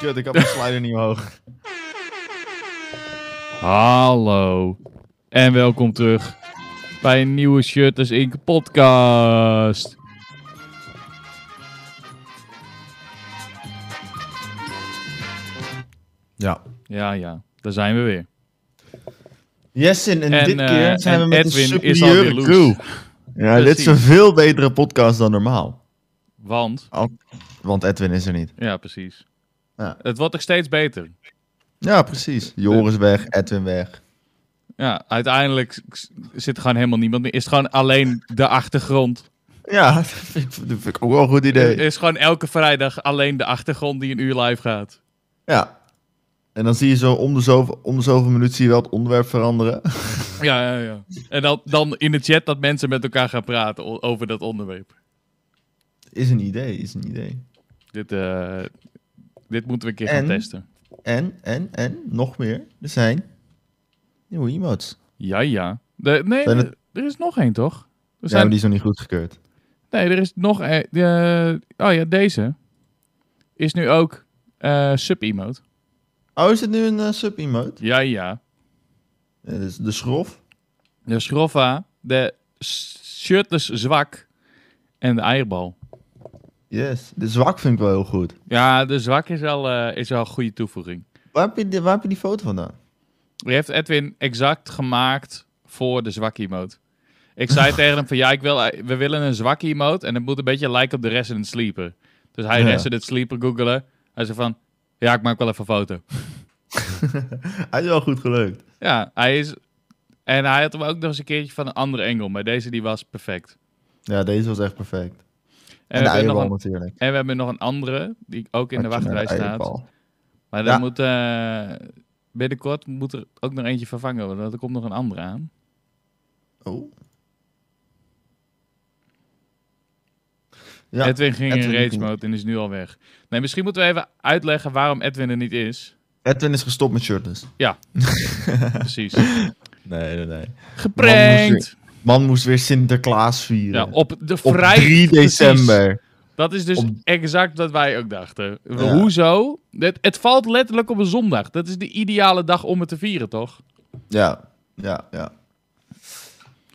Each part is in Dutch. Kut, ik had mijn slider niet omhoog. Hallo. En welkom terug bij een nieuwe Shutters Inc. podcast. Ja. Ja, ja. Daar zijn we weer. Yesin, en, En, dit eh, keer zijn we en met Edwin een is superieure alweer crew. loose. Ja, dit is Precies. een veel betere podcast dan normaal. Want, Want Edwin is er niet. ja precies. Ja. Het wordt nog steeds beter. Ja, precies. Joris weg, Edwin weg. Ja, uiteindelijk s- zit er gewoon helemaal niemand meer. Is het gewoon alleen de achtergrond. Ja, dat vind ik, dat vind ik ook wel een goed idee. Is gewoon elke vrijdag alleen de achtergrond die een uur live gaat. Ja. En dan zie je zo om de zoveel, om de zoveel minuten zie je wel het onderwerp veranderen. Ja, ja, ja. En dan, dan in de chat dat mensen met elkaar gaan praten o- over dat onderwerp. Is een idee, is een idee. Dit, eh, dit moeten we een keer En? gaan testen. En, en, en, nog meer. Er zijn nieuwe emotes. Ja, ja. De- nee, Zijn het- er is nog één, toch? Er Ja, maar zijn, die is nog niet goedgekeurd. Nee, er is nog één. eh, oh ja, deze. Is nu ook eh, sub-emote. Oh, is het nu een eh, sub-emote? Ja, ja. Ja, dus de schrof. De schroffa, de shirtless zwak en de eierbal. Yes. De zwak vind ik wel heel goed. Ja, de zwak is wel, eh, is wel een goede toevoeging. Waar heb je, die- waar heb je die foto vandaan? Die heeft Edwin exact gemaakt voor de zwak emote. Ik zei tegen hem van ja, ik wil, eh, we willen een zwak emote en het moet een beetje lijken op de Resident Sleeper. Dus hij Ja. Resident Sleeper googelen. Hij zei van ja, ik maak wel even een foto. Hij is wel goed gelukt. Ja, hij is... En hij had hem ook nog eens een keertje van een andere engel, maar deze die was perfect. Ja, deze was echt perfect. En, Eh, we, de hebben nog eierbal een, natuurlijk. en we hebben nog een andere, die ook in de Had je wachtrij naar de staat. eierbal. Maar dan Ja. moet... eh, binnenkort moet er ook nog eentje vervangen worden, want er komt nog een andere aan. Oh. Ja, Edwin ging Edwin in rage ging- mode en is nu al weg. Nee, misschien moeten we even uitleggen waarom Edwin er niet is. Edwin is gestopt met shirtless. Precies. Nee, nee, nee. Geprankt! Man moest weer Sinterklaas vieren. Ja, op de Op vrijdag. 3 precies. december. Dat is dus Op- exact wat wij ook dachten. We- Ja. Hoezo? Het, het valt letterlijk op een zondag. Dat is de ideale dag om het te vieren, toch? Ja, ja, ja.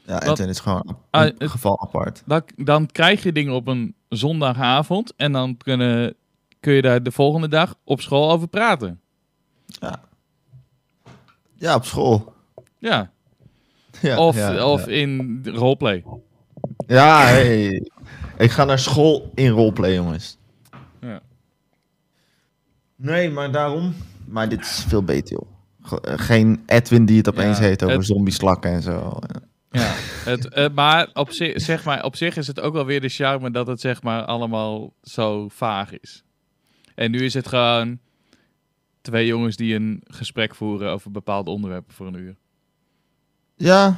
Ja, Wat- Edwin is gewoon een Ah, het- geval apart. Dan, dan krijg je dingen op een zondagavond en dan kunnen, kun je daar de volgende dag op school over praten. Ja, op school. Ja. Ja, Of, ja, of in de roleplay. Ja, hey. Ik ga naar school in roleplay, jongens. Ja. Nee, maar daarom... Maar dit is veel beter, joh. Ge- eh, Geen Edwin die het opeens Ja, heeft over het- zombieslakken en zo. Ja. het, eh, maar, op zich, zeg maar op zich is het ook wel weer de charme dat het zeg maar allemaal zo vaag is. En nu is het gewoon twee jongens die een gesprek voeren over bepaalde onderwerpen voor een uur. Ja,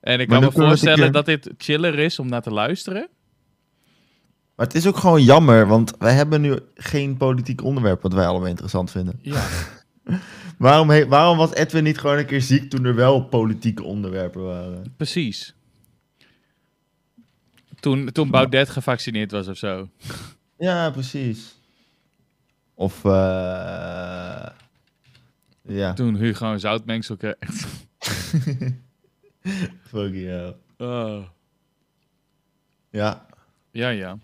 En Maar ik kan dan me kunnen we het een voorstellen keer- dat dit chiller is om naar te luisteren. maar het is ook gewoon jammer, want wij hebben nu geen politiek onderwerp wat wij allemaal interessant vinden. Ja. Waarom, he- waarom was Edwin niet gewoon een keer ziek toen er wel politieke onderwerpen waren? Precies. Toen, toen Baudet gevaccineerd was of zo. Ja, precies. Of, eh ja, Toen Hugo een zoutmengsel kreeg. fuck you. Oh. Ja, Ja, ja.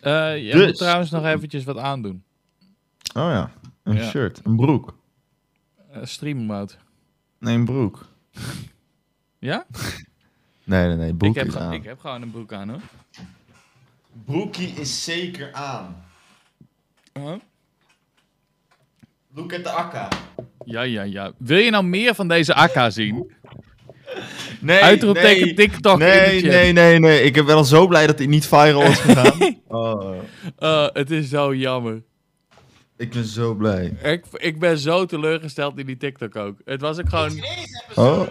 Eh jij Dus. moet trouwens nog eventjes wat aandoen. Oh ja, een Ja. shirt, een broek. Eh stream mode. Nee, een broek. Ja? Nee, nee, nee, broek ik, heb is ge- aan. ik heb gewoon een broek aan hoor. Broekie is zeker aan. Look at the akka. Ja, ja, ja. Wil je nou meer van deze akka zien? Nee, Uitroepteken nee. TikTok Nee, in de chat. nee, nee, nee. Ik ben al zo blij dat hij niet viral is gegaan. oh, Eh, het is zo jammer. ik ben zo blij. Ik, ik ben zo teleurgesteld in die TikTok ook. Het was ook gewoon... Oh,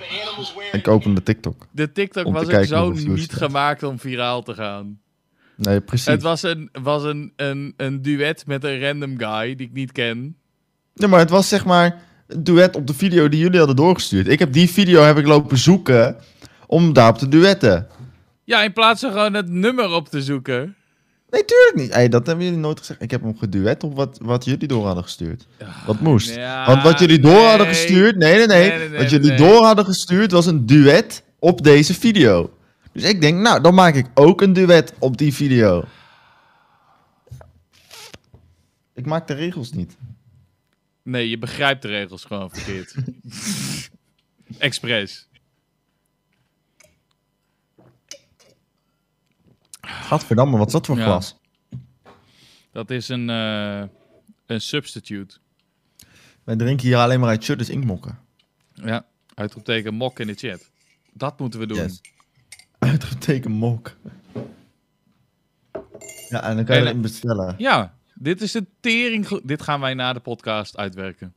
ik open de TikTok. De TikTok Om te was ook kijken zo hoeveel views niet het had. gemaakt om viraal te gaan. Nee, precies. Het was, een, was een, een, een duet met een random guy die ik niet ken. Ja, maar het was zeg maar het duet op de video die jullie hadden doorgestuurd. Ik heb die video heb ik lopen zoeken om daarop te duetten. Ja, in plaats van gewoon het nummer op te zoeken. Nee, tuurlijk niet. Ey, dat hebben jullie nooit gezegd. Ik heb hem geduet op wat, wat jullie door hadden gestuurd. Wat moest. Ja, Want wat jullie door hadden nee. gestuurd... Nee, nee, nee. Nee, nee, nee, wat jullie nee. door hadden gestuurd was een duet op deze video. Dus ik denk, nou, dan maak ik ook een duet op die video. Ik maak de regels niet. Nee, je begrijpt de regels gewoon verkeerd. Express. Gadverdamme, wat is dat voor Ja. glas? Dat is een, eh, een substitute. Wij drinken hier alleen maar uit Shudders inkmokken. Ja, uitroepteken mok in de chat. Dat moeten we doen. Yes. Uitgetekend mok. Ja, en dan kan je En- hem bestellen. Ja, dit is de tering. Dit gaan wij na de podcast uitwerken.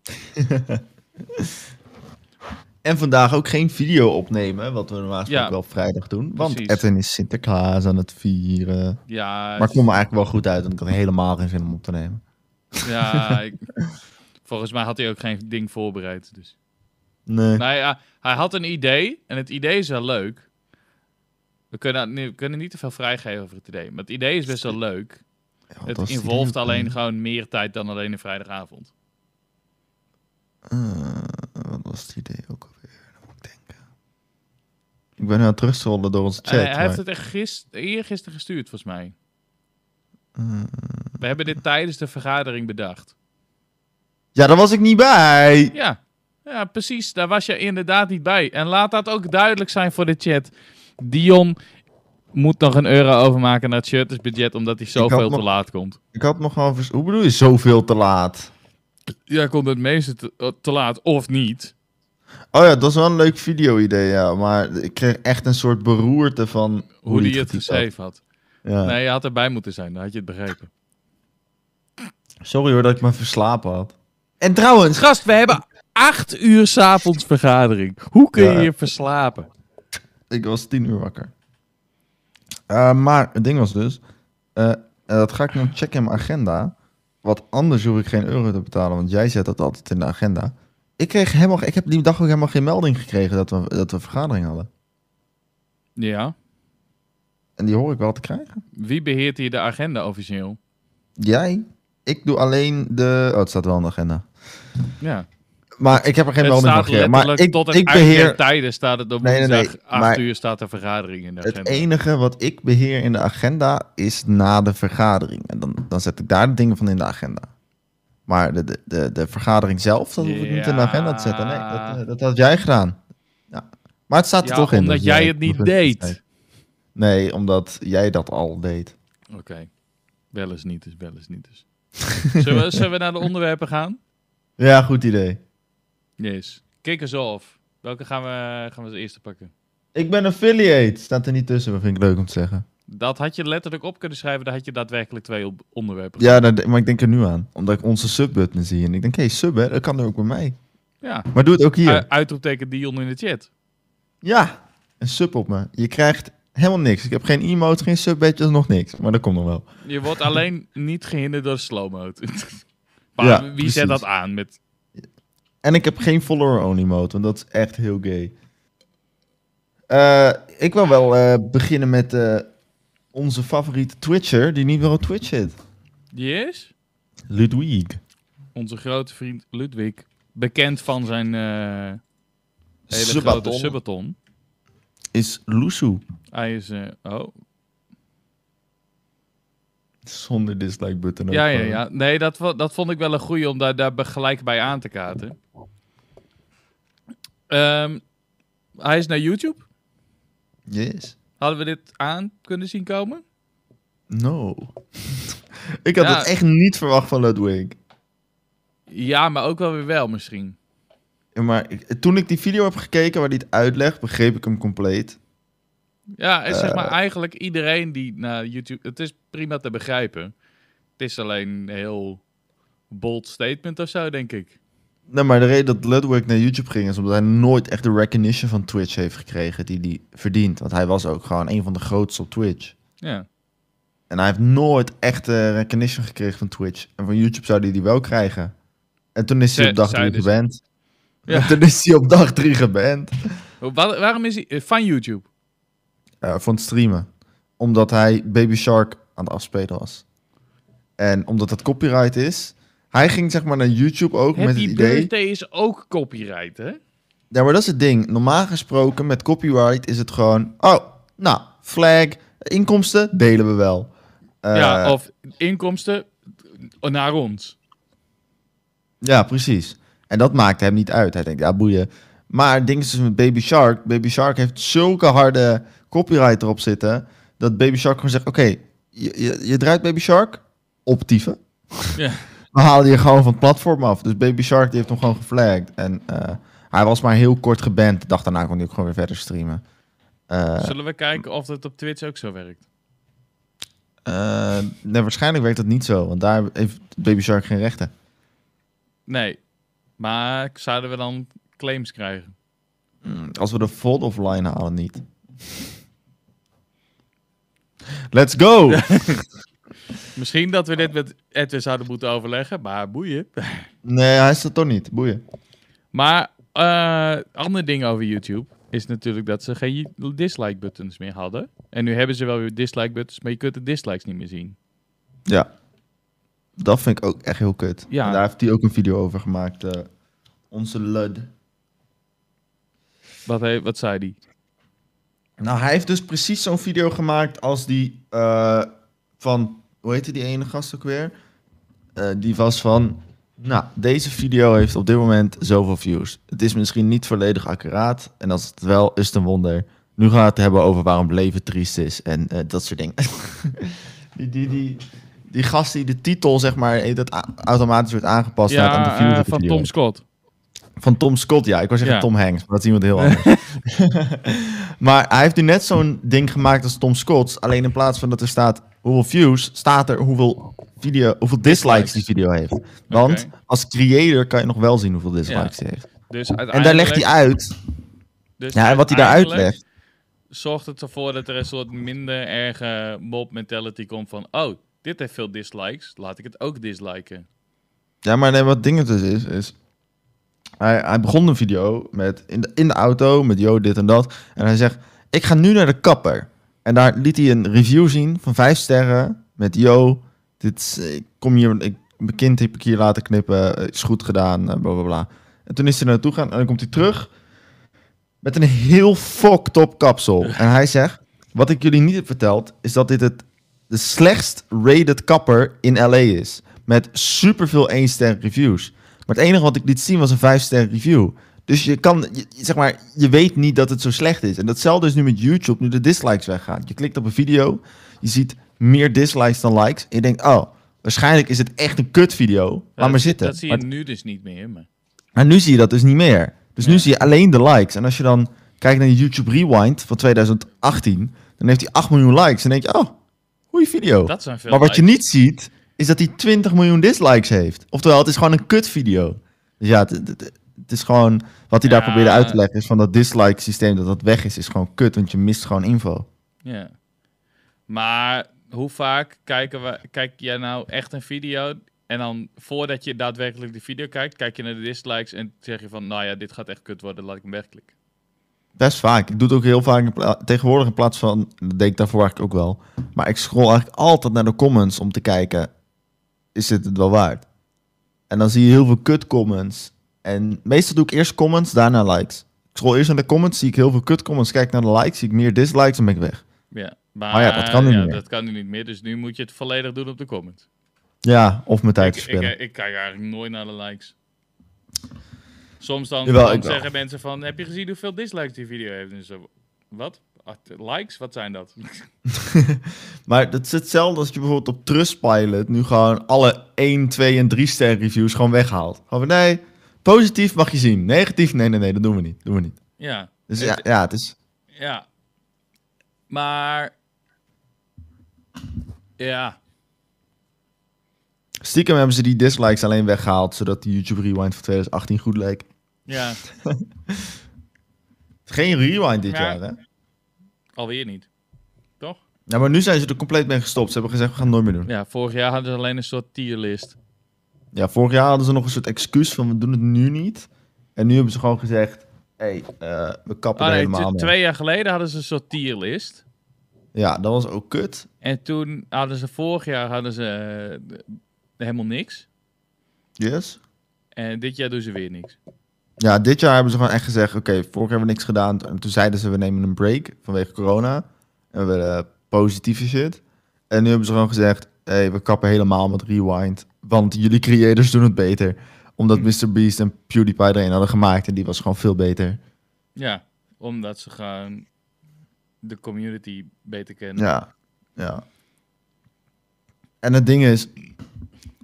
En vandaag ook geen video opnemen, wat we normaal gesproken Ja. wel op vrijdag doen. Want Precies. Edwin is Sinterklaas aan het vieren. Ja, Maar ik kom er eigenlijk wel goed uit, want ik had helemaal geen zin om op te nemen. ja ik- volgens mij had hij ook geen ding voorbereid. Dus. Nee. Nou ja, hij had een idee. En het idee is wel leuk. We kunnen, nee, we kunnen niet te veel vrijgeven over het idee. Maar het idee is best wel leuk. Ja, wat Het was die involveert dan? alleen gewoon meer tijd dan alleen een vrijdagavond. Eh, wat was het idee ook alweer? Dan moet ik denken. Ik ben nu aan het terugscrollen door onze chat. hij hij heeft maar- het echt gist, eergisteren gestuurd, volgens mij. Eh, We hebben dit tijdens de vergadering bedacht. Ja, daar was ik niet bij! Ja, ja precies. Daar was je inderdaad niet bij. En laat dat ook duidelijk zijn voor de chat. Dion moet nog een euro overmaken naar het shirters budget, omdat hij had zoveel te nog- laat komt. Ik had nog gewoon... vers- Hoe bedoel je zoveel te laat? Ja, komt het meeste te, te laat of niet. Oh ja, dat was wel een leuk video-idee, ja. Maar ik kreeg echt een soort beroerte van... Hoe die hij het getypt had. geschreven had. Ja. Nee, je had erbij moeten zijn. Dan had je het begrepen. Sorry hoor dat ik me verslapen had. En trouwens, Gast, we hebben acht uur s'avonds vergadering. Hoe kun je Ja. je verslapen? ik was tien uur wakker. Eh, maar het ding was dus... eh, en dat ga ik nog checken in mijn agenda. Want anders hoef ik geen euro te betalen. Want jij zet dat altijd in de agenda. Ik, kreeg helemaal, ik heb die dag ook helemaal geen melding gekregen dat we, dat we een vergadering hadden. Ja. En die hoor ik wel te krijgen. Wie beheert hier de agenda officieel? Jij? Ik doe alleen de... Oh, het staat wel in de agenda. Ja. Maar ik heb er geen het melding van staat gekregen. letterlijk Maar ik, tot en ik beheer... beheer... tijden staat het op Nee, nee, nee, woensdag. Acht maar- uur staat de vergadering in de Het agenda. enige wat ik beheer in de agenda is na de vergadering. En dan, dan zet ik daar de dingen van in de agenda. Maar de, de, de, de vergadering zelf, dat hoef ik niet in de agenda te zetten. Nee, dat, eh, dat had jij gedaan. Ja. Maar het staat er Ja, toch in. omdat dus jij het niet hoeft te deed. zeggen. Nee, omdat jij dat al deed. Oké. Wel eens niet dus, wel eens niet dus. zullen, we, zullen we naar de onderwerpen gaan? Ja, goed idee. Yes. Kick us off. Welke gaan we, gaan we als eerste pakken? Ik ben affiliate. Staat er niet tussen, maar vind ik leuk om te zeggen. Dat had je letterlijk op kunnen schrijven. Daar had je daadwerkelijk twee op- onderwerpen. Ja, dat- maar ik denk er nu aan. Omdat ik onze subbutton zie. En ik denk, hé, hey, sub, hè, dat kan er ook bij mij. ja. Maar doe het ook hier. U- uitroepteken Dion in de chat. Ja, een sub op me. Je krijgt helemaal niks. Ik heb geen emote, geen subbadges, nog niks. Maar dat komt nog wel. Je wordt alleen niet gehinderd door slow mode. maar Ja, wie precies. zet dat aan? Met... En ik heb geen follower-only mode, want dat is echt heel gay. Eh, ik wil wel eh, beginnen met eh, onze favoriete Twitcher, die niet meer op Twitch zit. Yes? Ludwig. Onze grote vriend Ludwig. Bekend van zijn eh, hele Subaton. grote subaton. Is Loesoe. Hij is... eh, oh, Zonder dislike button. ook ja, ja, gewoon. ja. Nee, dat, vo- dat vond ik wel een goeie om daar, daar be- gelijk bij aan te kaarten. Ehm, hij is naar YouTube. Yes. Hadden we dit aan kunnen zien komen? No. ik had Ja. het echt niet verwacht van Ludwig. Ja, maar ook wel weer wel misschien. Maar ik- toen ik die video heb gekeken waar hij het uitlegt, begreep ik hem compleet. Ja, en zeg maar eigenlijk iedereen die naar YouTube... Het is prima te begrijpen. Het is alleen een heel bold statement of zo, denk ik. Nee, maar de reden dat Ludwig naar YouTube ging is omdat hij nooit echt de recognition van Twitch heeft gekregen die hij verdient. Want hij was ook gewoon een van de grootste op Twitch. Ja. En hij heeft nooit echt eh, recognition gekregen van Twitch. En van YouTube zou hij die wel krijgen. En toen is hij Ze- op dag zij drie dus- geband. Ja. En toen is hij op dag drie geband. Wa- waarom is hij... eh, Van YouTube. eh, van het streamen. Omdat hij Baby Shark aan het afspelen was. En omdat dat copyright is, hij ging zeg maar naar YouTube ook met het Happy idee. Birthday is ook copyright, hè? Ja, maar dat is het ding. Normaal gesproken met copyright is het gewoon, oh, nou, flag, inkomsten delen we wel. Eh, ja, oh. of inkomsten eh, naar ons. Ja, precies. En dat maakt hem niet uit. Hij denkt, ja, boeien. Maar het ding is dus met Baby Shark. Baby Shark heeft zulke harde copyright erop zitten. Dat Baby Shark gewoon zegt: Oké, je, je, je draait Baby Shark op dieven. Ja. We halen je gewoon van het platform af. Dus Baby Shark die heeft hem gewoon geflagged. En eh, hij was maar heel kort geband. De dag daarna kon hij ook gewoon weer verder streamen. Eh, Zullen we kijken of dat op Twitch ook zo werkt? eh, nee, waarschijnlijk werkt dat niet zo. Want daar heeft Baby Shark geen rechten. Nee. Maar zouden we dan claims krijgen? Mm, Als we de Vault offline halen, niet. Let's go! Misschien dat we dit met Edwin zouden moeten overleggen, maar boeien. Nee, hij is dat toch niet. Boeien. Maar eh ander ding over YouTube is natuurlijk dat ze geen dislike buttons meer hadden. En nu hebben ze wel weer dislike buttons, maar je kunt de dislikes niet meer zien. Ja. Dat vind ik ook echt heel kut. Ja. En daar heeft hij ook een video over gemaakt. eh, onze Lud. Wat, he- wat zei die? Nou, hij heeft dus precies zo'n video gemaakt als die eh, van... Hoe heette die ene gast ook weer? Eh, die was van... Nou, deze video heeft op dit moment zoveel views. Het is misschien niet volledig accuraat. En als het wel, is het een wonder. Nu gaan we het hebben over waarom het leven triest is. En eh, dat soort dingen. die, die, die, die gast die de titel, zeg maar... eh, dat a- automatisch wordt aangepast ja, aan de eh, views op de van video. Tom Scott. Van Tom Scott, ja. Ik was zeggen Ja. Tom Hanks, maar dat is iemand heel anders. maar hij heeft nu net zo'n ding gemaakt als Tom Scott's. Alleen in plaats van dat er staat hoeveel views, staat er hoeveel, video, hoeveel dislikes die video heeft. Want Oké. als creator kan je nog wel zien hoeveel dislikes hij heeft. Dus En daar legt hij uit. dus Ja, en wat hij daar uiteindelijk uitlegt. zorgt het ervoor dat er een soort minder erge mob mentality komt van... Oh, dit heeft veel dislikes, laat ik het ook disliken. Ja, maar nee, wat ding het dus is, is... Hij, hij begon een video met in de, in de auto, met yo, dit en dat. En hij zegt, ik ga nu naar de kapper. En daar liet hij een review zien van vijf sterren. Met yo, dit is, ik kom hier, ik, mijn kind heb ik hier laten knippen. eh, Is goed gedaan, eh, bla bla bla. En toen is hij naartoe gegaan en dan komt hij terug. Met een heel fucked up kapsel. En hij zegt, wat ik jullie niet heb verteld, is dat dit het de slechtst rated kapper in LA is. Met superveel 1 ster reviews. Maar het enige wat ik liet zien was een 5 ster review. Dus je kan, je- je- zeg maar, je weet niet dat het zo slecht is. En datzelfde is nu met YouTube, nu de dislikes weggaan. Je klikt op een video, je ziet meer dislikes dan likes. En je denkt, oh, waarschijnlijk is het echt een kut video. Laat maar dat, zitten. Dat zie je Maar- nu dus niet meer, maar... maar nu zie je dat dus niet meer. Dus nu Nee. zie je alleen de likes. En als je dan kijkt naar die YouTube Rewind van 2018, dan heeft hij 8 miljoen likes. En dan denk je, oh, goede video. Dat zijn veel maar wat je likes. niet ziet, is dat hij 20 miljoen dislikes heeft. Oftewel, het is gewoon een kut video. Dus ja, het, het- het- het is gewoon wat hij daar Ja. probeerde uit te leggen, is van dat dislike systeem dat dat weg is, is gewoon kut, want je mist gewoon info. Ja. Maar hoe vaak kijken we, kijk jij nou echt een video en dan voordat je daadwerkelijk de video kijkt, kijk je naar de dislikes en zeg je van, nou ja, dit gaat echt kut worden, laat ik hem wegklikken. Best vaak. Ik doe het ook heel vaak in pla- tegenwoordig in plaats van, dat deed ik daarvoor eigenlijk ook wel. Maar ik scroll eigenlijk altijd naar de comments om te kijken, is dit het wel waard? En dan zie je heel veel kut comments. En meestal doe ik eerst comments, daarna likes. Ik scroll eerst naar de comments, zie ik heel veel kut comments, kijk naar de likes, zie ik meer dislikes, dan ben ik weg. Ja, maar Oh ja, dat kan nu ja, niet meer. dat kan nu niet meer, dus nu moet je het volledig doen op de comments. Ja, of mijn tijd Ik, ik, eh, verspillen. ik, kijk eigenlijk nooit naar de likes. Soms dan, Jawel, dan ik wel. zeggen mensen van, heb je gezien hoeveel dislikes die video heeft? En zo, wat? Ah, Likes? Wat zijn dat? Maar dat is hetzelfde als je bijvoorbeeld op Trustpilot nu gewoon alle 1, 2 en 3 ster reviews gewoon weghaalt. Gewoon van nee, positief mag je zien, negatief nee, nee, nee, dat doen we niet, doen we niet. ja. Dus Het- ja, ja het is... Ja. Maar. Ja. Stiekem hebben ze die dislikes alleen weggehaald, zodat de YouTube Rewind van 2018 goed leek. Ja. Geen rewind dit Ja. jaar, hè? Alweer niet. Toch? Ja, maar nu zijn ze er compleet mee gestopt. Ze hebben gezegd, we gaan het nooit meer doen. Ja, vorig jaar hadden ze alleen een soort tierlist. Ja, vorig jaar hadden ze nog een soort excuus van, we doen het nu niet. En nu hebben ze gewoon gezegd, hé, hey, eh, we kappen Ah, er nee, helemaal t- mee. twee jaar geleden hadden ze een soort tierlist. Ja, dat was ook kut. En toen hadden ze vorig jaar hadden ze eh, helemaal niks. Yes. En dit jaar doen ze weer niks. Ja, dit jaar hebben ze gewoon echt gezegd: oké, vorig jaar hebben we niks gedaan. En toen zeiden ze: we nemen een break vanwege corona. En we hebben positieve shit. En nu hebben ze gewoon gezegd: hé, hey, we kappen helemaal met rewind. Want jullie creators doen het beter. Omdat Hm. Mr. Beast en PewDiePie erin hadden gemaakt. En die was gewoon veel beter. Ja, omdat ze gewoon de community beter kennen. Ja, ja. En het ding is.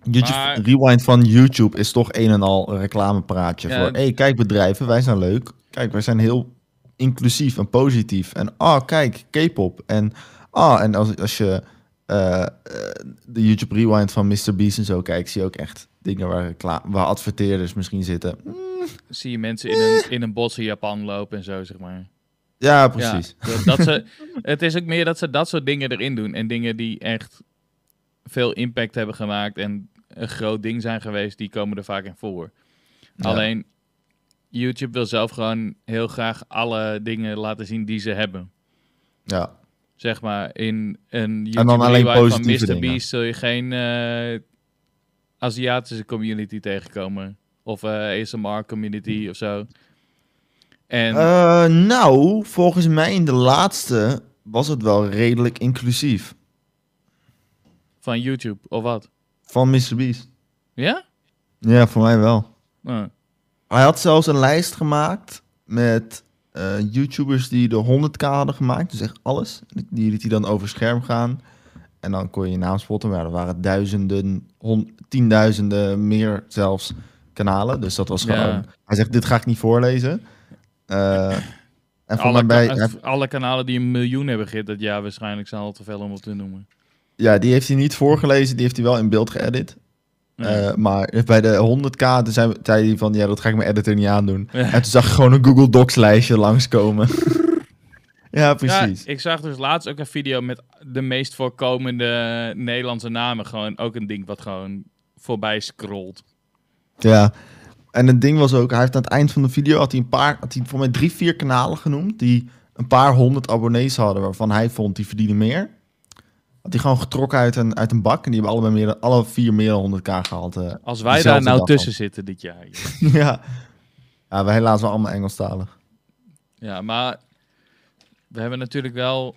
YouTube, Maar- Rewind van YouTube is toch een en al een reclamepraatje. Ja, voor, het- hé, hey, kijk bedrijven, wij zijn leuk. Kijk, wij zijn heel inclusief en positief. En ah, kijk, K-pop. En ah, en als, als je eh, eh, de YouTube Rewind van Mr. Beast en zo kijkt... zie je ook echt dingen waar, recla- waar adverteerders misschien zitten. Zie je mensen in een, in een bos in Japan lopen en zo, zeg maar. Ja, precies. Ja, dat, dat ze, het is ook meer dat ze dat soort dingen erin doen. En dingen die echt veel impact hebben gemaakt en een groot ding zijn geweest, die komen er vaak in voor. Ja. Alleen, YouTube wil zelf gewoon heel graag alle dingen laten zien die ze hebben. Ja, Zeg maar, in een YouTube alleen rewind van positieve dingen. MrBeast zul je geen eh, Aziatische community tegenkomen. Of eh ASMR community of zo. En Eh, nou, volgens mij in de laatste was het wel redelijk inclusief. van YouTube, of wat? Van Mr. Beast. Ja? Ja, voor mij wel. Eh. Hij had zelfs een lijst gemaakt met eh, YouTubers die de 100k hadden gemaakt. Dus echt alles. Die liet hij dan over scherm gaan. En dan kon je je naam spotten. Maar ja, er waren duizenden, hon- tienduizenden meer zelfs kanalen. Dus dat was Ja. gewoon... Hij zegt, dit ga ik niet voorlezen. Eh, en voor alle, mij bij... ka- hij- alle kanalen die een miljoen hebben gehit dat jaar waarschijnlijk zijn al te veel om op te noemen. Ja, die heeft hij niet voorgelezen. Die heeft hij wel in beeld geëdit. Ja. Eh, maar bij de 100k toen zei, zei hij van... Ja, dat ga ik mijn editor niet aandoen. Ja. En toen zag ik gewoon een Google Docs lijstje langskomen. ja, precies. Ja, ik zag dus laatst ook een video met de meest voorkomende Nederlandse namen. Gewoon ook een ding wat gewoon voorbij scrolt. Ja. En het ding was ook... Hij heeft aan het eind van de video... Had hij een paar... Had hij voor mij drie, vier kanalen genoemd... Die een paar honderd abonnees hadden... Waarvan hij vond die verdienen meer. Had hij gewoon getrokken uit een, uit een bak. En die hebben allebei meer, dan- alle vier meer dan 100k gehaald. eh. Als wij Dezelfde daar nou dag tussen zitten dit jaar. ja. Ja, we helaas wel allemaal Engelstalig. Ja, maar we hebben natuurlijk wel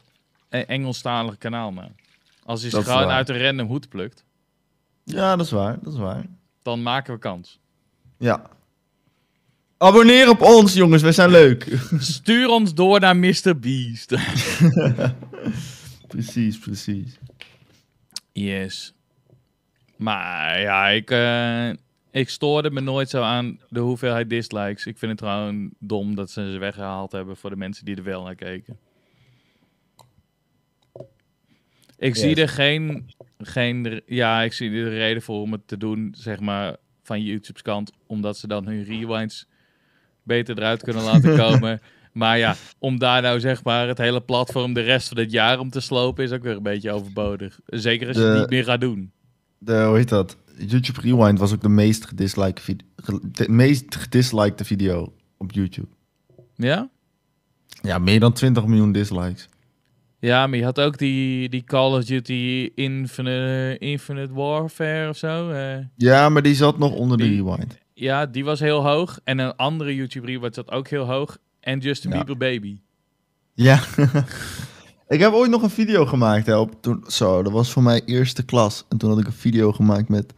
een Engelstalig kanaal, man. Als je ze Dat is gewoon waar. uit een random hoed plukt, Ja, dat is waar. Dat is waar. dan maken we kans. Ja. Abonneer op ons, jongens. Wij zijn leuk. Stuur ons door naar Mr. Beast. precies, precies. Yes. Maar ja, ik, eh, ik stoorde me nooit zo aan de hoeveelheid dislikes. Ik vind het gewoon dom dat ze ze weggehaald hebben voor de mensen die er wel naar keken. Ik Yes. zie er geen, geen... Ja, ik zie er reden voor om het te doen, zeg maar, van YouTube's kant. Omdat ze dan hun rewinds beter eruit kunnen laten komen. maar ja, om daar nou zeg maar het hele platform de rest van het jaar om te slopen is ook weer een beetje overbodig. Zeker als je het De- niet meer gaat doen. De, hoe heet dat? YouTube Rewind was ook de meest gedisliked, vid- ge- de meest gedisliked video op YouTube. Ja? Ja, meer dan 20 miljoen dislikes. Ja, maar je had ook die, die Call of Duty Infinite, Infinite Warfare of zo. eh. Ja, maar die zat nog onder de Die- Rewind. ja, die was heel hoog. En een andere YouTuber was dat ook heel hoog. En Justin Ja. Bieber Baby. Ja. ik heb ooit nog een video gemaakt. Hè, op, toen, zo, dat was voor mij eerste klas. En toen had ik een video gemaakt met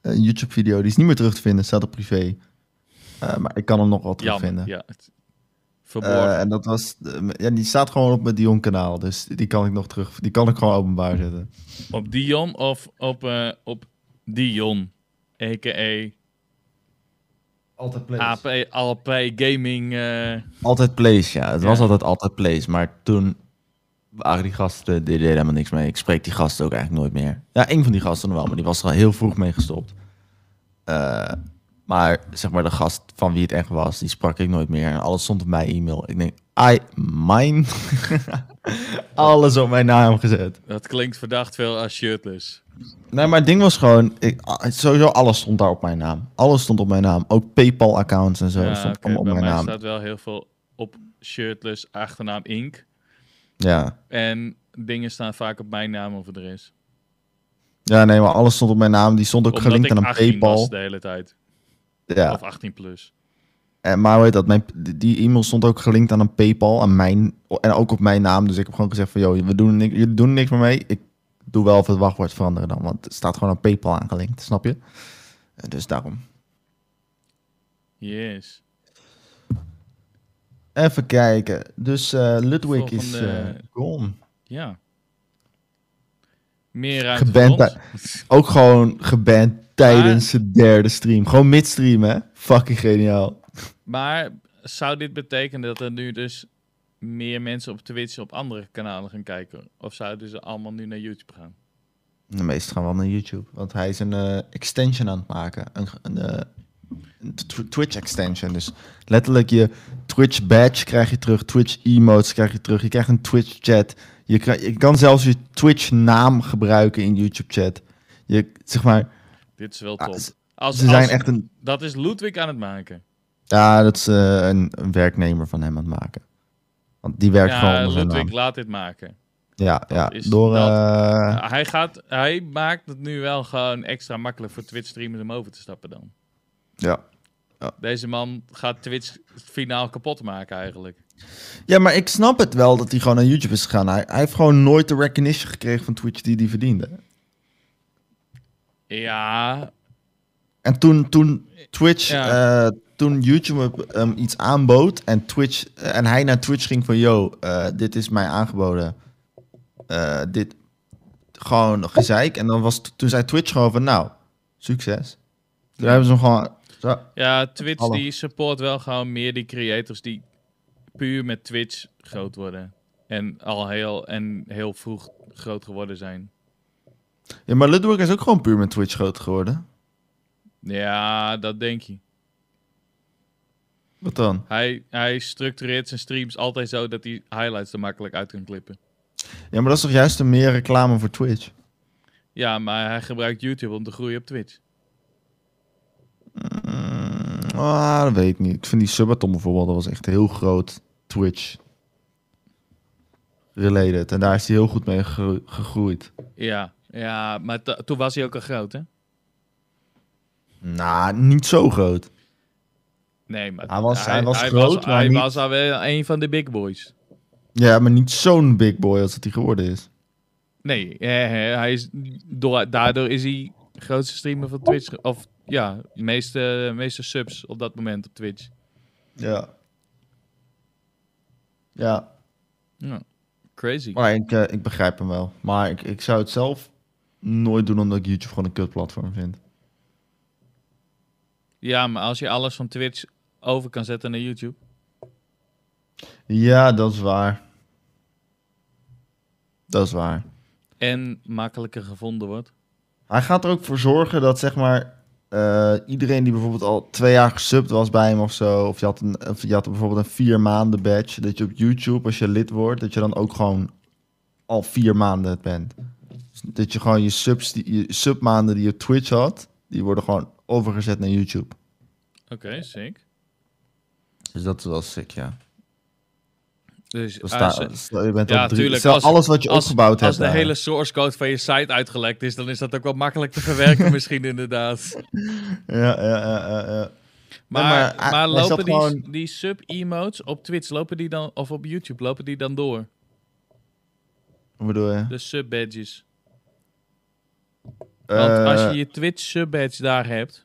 eh, een YouTube-video. Die is niet meer terug te vinden. Staat op privé. Eh, maar ik kan hem nog wel terugvinden. Jammer, ja. Het- Verborgen. Eh, en dat was, eh, ja, die staat gewoon op mijn Dion kanaal, dus die kan ik nog terug, die kan ik gewoon openbaar zetten. op Dion of op, eh, op Dion. A.k.a. Altijd AP, ALP Gaming. eh, Altijd place, ja. Het Ja. was altijd altijd place, maar toen waren die gasten, die deden helemaal niks mee. Ik spreek die gasten ook eigenlijk nooit meer. Ja, één van die gasten nog wel, maar die was er al heel vroeg mee gestopt. Eh, maar zeg maar de gast van wie het echt was, die sprak ik nooit meer. En alles stond op mijn e-mail. Ik denk, I mine. alles op mijn naam gezet. Dat klinkt verdacht veel als shirtless. Nee, maar het ding was gewoon... Ik, ah, sowieso alles stond daar op mijn naam. Alles stond op mijn naam. Ook Paypal-accounts en zo Ja, stond oké, allemaal op bij mijn mij naam. staat wel heel veel op shirtless achternaam Inc. Ja, En dingen staan vaak op mijn naam of adres. Ja, nee, maar alles stond op mijn naam. Die stond ook Omdat gelinkt ik aan een 18 was Paypal. de hele tijd. Ja. Of 18 plus. En, maar hoe heet dat? Mijn, die- die e-mail stond ook gelinkt aan een Paypal. Aan mijn, en ook op mijn naam. Dus ik heb gewoon gezegd van, joh, we doen niks, jullie doen niks meer mee. Ik doe wel even het wachtwoord veranderen dan. Want het staat gewoon aan Paypal aangelinkt, snap je? Eh, Dus daarom. Yes. Even kijken. Dus eh, Ludwig is Volgende- eh, gone. Ja. Meer ruimte Geband voor ons. Ook gewoon geband tijdens Ah. de derde stream. Gewoon midstream, hè? Fucking geniaal. Maar zou dit betekenen dat er nu dus meer mensen op Twitch op andere kanalen gaan kijken? Of zouden ze allemaal nu naar YouTube gaan? De meesten gaan wel naar YouTube. Want hij is een eh, extension aan het maken. Een, ge- een, eh, een tw- Twitch extension. Dus letterlijk je Twitch badge krijg je terug. Twitch emotes krijg je terug. Je krijgt een Twitch chat. Je, kri- je kan zelfs je Twitch naam gebruiken in YouTube chat. Je, zeg maar, Dit is wel Ah, top. ze- Als, ze zijn als- echt een... Dat is Ludwig aan het maken. Ja, dat is eh, een, een werknemer van hem aan het maken. Want die werkt gewoon Ja, onder zijn Ludwig naam. laat dit maken. Ja, ja. is Door... dat. eh, Uh, hij, gaat, hij maakt het nu wel gewoon extra makkelijk voor Twitch streamers om over te stappen dan. Ja. Deze man gaat Twitch finaal kapot maken eigenlijk. ja, maar ik snap het wel dat hij gewoon naar YouTube is gegaan. Hij, hij heeft gewoon nooit de recognition gekregen van Twitch die hij verdiende. Ja, En toen, toen Twitch, Ja. eh, toen YouTube hem iets aanbood en, Twitch, eh, en hij naar Twitch ging van... Yo, eh, dit is mij aangeboden. Eh, dit gewoon gezeik. En dan was, toen zei Twitch gewoon van nou, succes. Toen hebben ze hem gewoon... zo- ja Twitch Hallo. die support wel gewoon meer die creators die puur met Twitch groot worden. En al heel, en heel vroeg groot geworden zijn. Ja, maar Ludwig is ook gewoon puur met Twitch groot geworden. Ja, dat denk je. Wat dan? Hij, hij structureert zijn streams altijd zo dat hij highlights er makkelijk uit kan klippen. Ja, maar dat is toch juist een meer reclame voor Twitch? Ja, maar hij gebruikt YouTube om te groeien op Twitch. Mm, ah, dat weet ik niet. Ik vind die Subatom bijvoorbeeld, dat was echt heel groot Twitch related. En daar is hij heel goed mee gegro- gegroeid. Ja, ja maar to- toen was hij ook al groot, hè? Nou, niet zo groot. Nee, maar Hij was- hij was groot, maar hij niet- was al wel een van de big boys. Ja, maar niet zo'n big boy als dat hij geworden is. Nee, eh, eh, hij is, door- daardoor is hij grootste streamer van Twitch. ge- Of ja, meeste, meeste subs op dat moment op Twitch. Ja. Ja, Ja, crazy. maar ik, eh, ik begrijp hem wel. Maar ik, ik zou het zelf nooit doen omdat ik YouTube gewoon een kut platform vind. Ja, maar als je alles van Twitch over kan zetten naar YouTube. Ja, dat is waar. Dat is waar. En makkelijker gevonden wordt. Hij gaat er ook voor zorgen dat zeg maar eh, iedereen die bijvoorbeeld al twee jaar gesubt was bij hem of zo, of je had, een, of je had bijvoorbeeld een vier maanden badge, dat je op YouTube als je lid wordt, dat je dan ook gewoon al vier maanden het bent. Dus dat je gewoon je, subs, die, je submaanden die je op Twitch had, die worden gewoon overgezet naar YouTube. Oké, sick. Dus dat is wel sick, ja. Dus Dus als- daar- stel, je bent ja, al drie, tuurlijk, stel als- alles wat je opgebouwd hebt. Als de daar. hele source code van je site uitgelekt is, dan is dat ook wel makkelijk te verwerken misschien inderdaad. Ja, ja, ja, ja, ja. Maar, maar hij- maar, hij zat lopen die, gewoon- die sub-emotes op Twitch, lopen die dan, of op YouTube, lopen die dan door? Wat bedoel je? De sub-badges. Want Eh, als je je Twitch sub-badge daar hebt,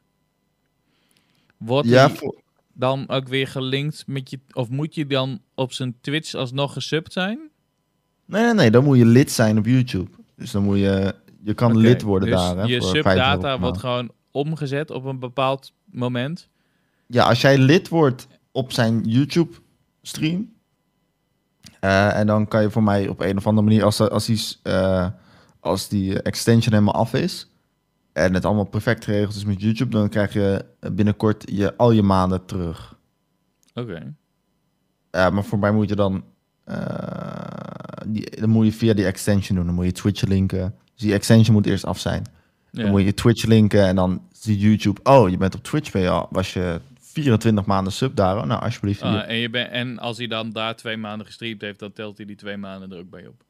wordt Eh, ja, die voor- dan ook weer gelinkt met je... Of moet je dan op zijn Twitch alsnog gesubbed zijn? Nee, nee, nee, dan moet je lid zijn op YouTube. Dus dan moet je, je kan Oké, lid worden dus daar. Hè, je voor 5 euro per subdata maand. wordt gewoon omgezet op een bepaald moment. Ja, als jij lid wordt op zijn YouTube stream. eh, en dan kan je voor mij op een of andere manier, als, als, die, eh, als die extension helemaal af is. En het allemaal perfect geregeld is met YouTube, dan krijg je binnenkort je, al je maanden terug. Oké. Ja, maar voor mij moet je dan. eh, die, dan moet je via die extension doen. Dan moet je Twitch linken. Dus die extension moet eerst af zijn. Ja. Dan moet je Twitch linken en dan ziet YouTube... Oh, je bent op Twitch, ben je al, was je 24 maanden sub daar. Oh, Nou, alsjeblieft. hier. Ah, en, je ben, en als hij dan daar twee maanden gestreamd heeft, dan telt hij die twee maanden er ook bij op.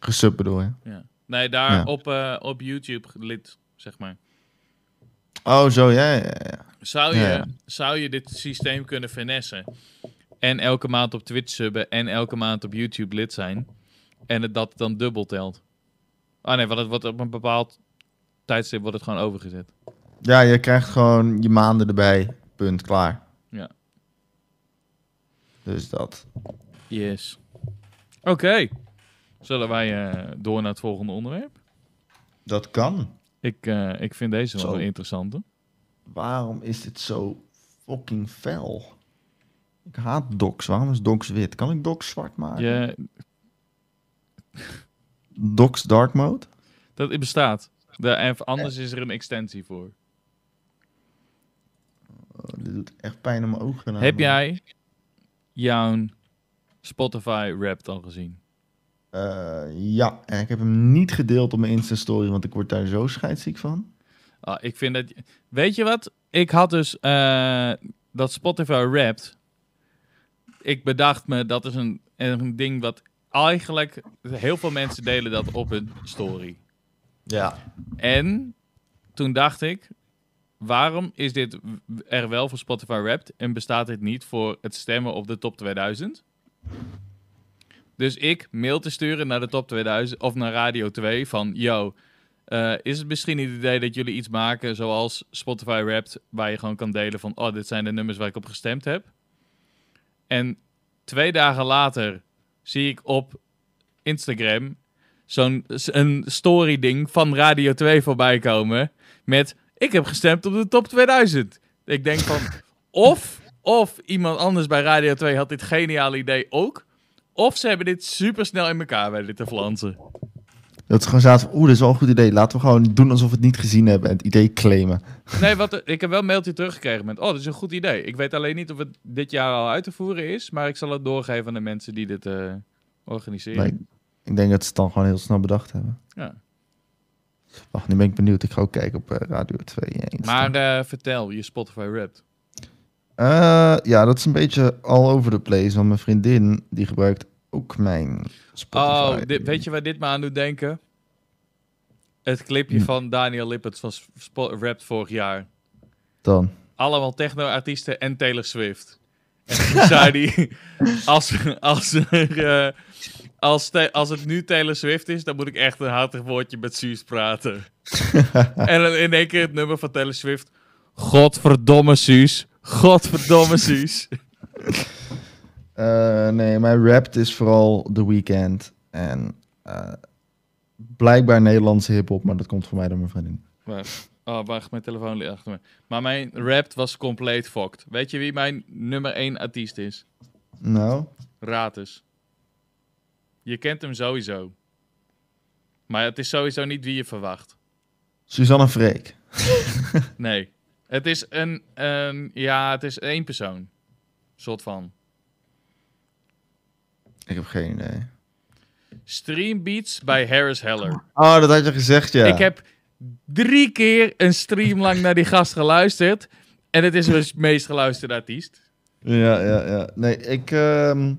Gesub bedoel je? Ja. Nee, daar Ja. op, eh, op YouTube lid, zeg maar. Oh, zo, ja, ja, ja, ja. Zou je, Ja, ja. zou je dit systeem kunnen finessen? En elke maand op Twitch subben en elke maand op YouTube lid zijn. En het dat dan dubbel telt. Ah nee, want het wordt op een bepaald tijdstip wordt het gewoon overgezet. Ja, je krijgt gewoon je maanden erbij. Punt, klaar. Ja. Dus dat. Yes. Oké. Zullen wij eh, door naar het volgende onderwerp? Dat kan. Ik, eh, ik vind deze wel Zo. een interessante. Waarom is dit zo fucking fel? Ik haat docs. Waarom is docs wit? Kan ik docs zwart maken? Je, Docs dark mode? dat het bestaat. De, en anders is er een extensie voor. Oh, dit doet echt pijn aan mijn ogen. nou, Heb man. jij jouw Spotify Wrapped al gezien? Eh, ja, en ik heb hem niet gedeeld op mijn Insta-story, want ik word daar zo scheidsziek van. Ah, ik vind dat. Weet je wat? Ik had dus eh, dat Spotify Wrapped. Ik bedacht me dat is een, een ding wat eigenlijk heel veel mensen delen dat op hun story. Ja. En toen dacht ik, waarom is dit w- er wel voor Spotify Wrapped en bestaat dit niet voor het stemmen op de top 2000? Dus ik mail te sturen naar de top 2000 of naar Radio 2 van, yo, eh, is het misschien het idee dat jullie iets maken zoals Spotify Wrapped, waar je gewoon kan delen van, oh, dit zijn de nummers waar ik op gestemd heb. En twee dagen later zie ik op Instagram zo'n s- een story ding van Radio 2 voorbij komen met ik heb gestemd op de top 2000. Ik denk van of of iemand anders bij Radio 2 had dit geniale idee ook of ze hebben dit super snel in elkaar weten te flansen. Dat is gewoon zaten van, oeh, dat is wel een goed idee. Laten we gewoon doen alsof we het niet gezien hebben en het idee claimen. Nee, wat, ik heb wel een mailtje teruggekregen met oh, dat is een goed idee. Ik weet alleen niet of het dit jaar al uit te voeren is, maar ik zal het doorgeven aan de mensen die dit eh, organiseren. Maar ik, ik denk dat ze het dan gewoon heel snel bedacht hebben. Ja. Wacht, nu ben ik benieuwd. Ik ga ook kijken op eh, Radio 2. eh, Insta. Maar eh, vertel, je Spotify rapt. Eh, ja, dat is een beetje all over the place, want mijn vriendin, die gebruikt ook mijn Spotify. Oh, dit, weet je waar dit me aan doet denken? Het clipje Hm. van Daniel Lippert van Sp- Sp- Wrapped vorig jaar. Dan. Allemaal techno-artiesten en Taylor Swift. En toen zei hij, als, als, er, eh, als, te- als het nu Taylor Swift is, dan moet ik echt een hartig woordje met Suus praten. en dan in één keer het nummer van Taylor Swift. Godverdomme Suus, godverdomme Suus. Eh, nee, mijn rap is vooral The Weeknd en eh, blijkbaar Nederlandse hip-hop, maar dat komt voor mij door mijn vriendin. Wacht. Oh, wacht, mijn telefoon ligt achter me. Maar mijn rap was compleet fokt. Weet je wie mijn nummer 1 artiest is? Nou, Ratus. Je kent hem sowieso. Maar het is sowieso niet wie je verwacht. Suzanne Freek. Nee. Het is een, een ja, het is één persoon. Soort van. Ik heb geen idee. Streambeats bij Harris Heller. Oh, dat had je gezegd, ja. Ik heb drie keer een stream lang naar die gast geluisterd. En het is mijn meest geluisterde artiest. Ja, ja, ja. Nee, ik... ehm,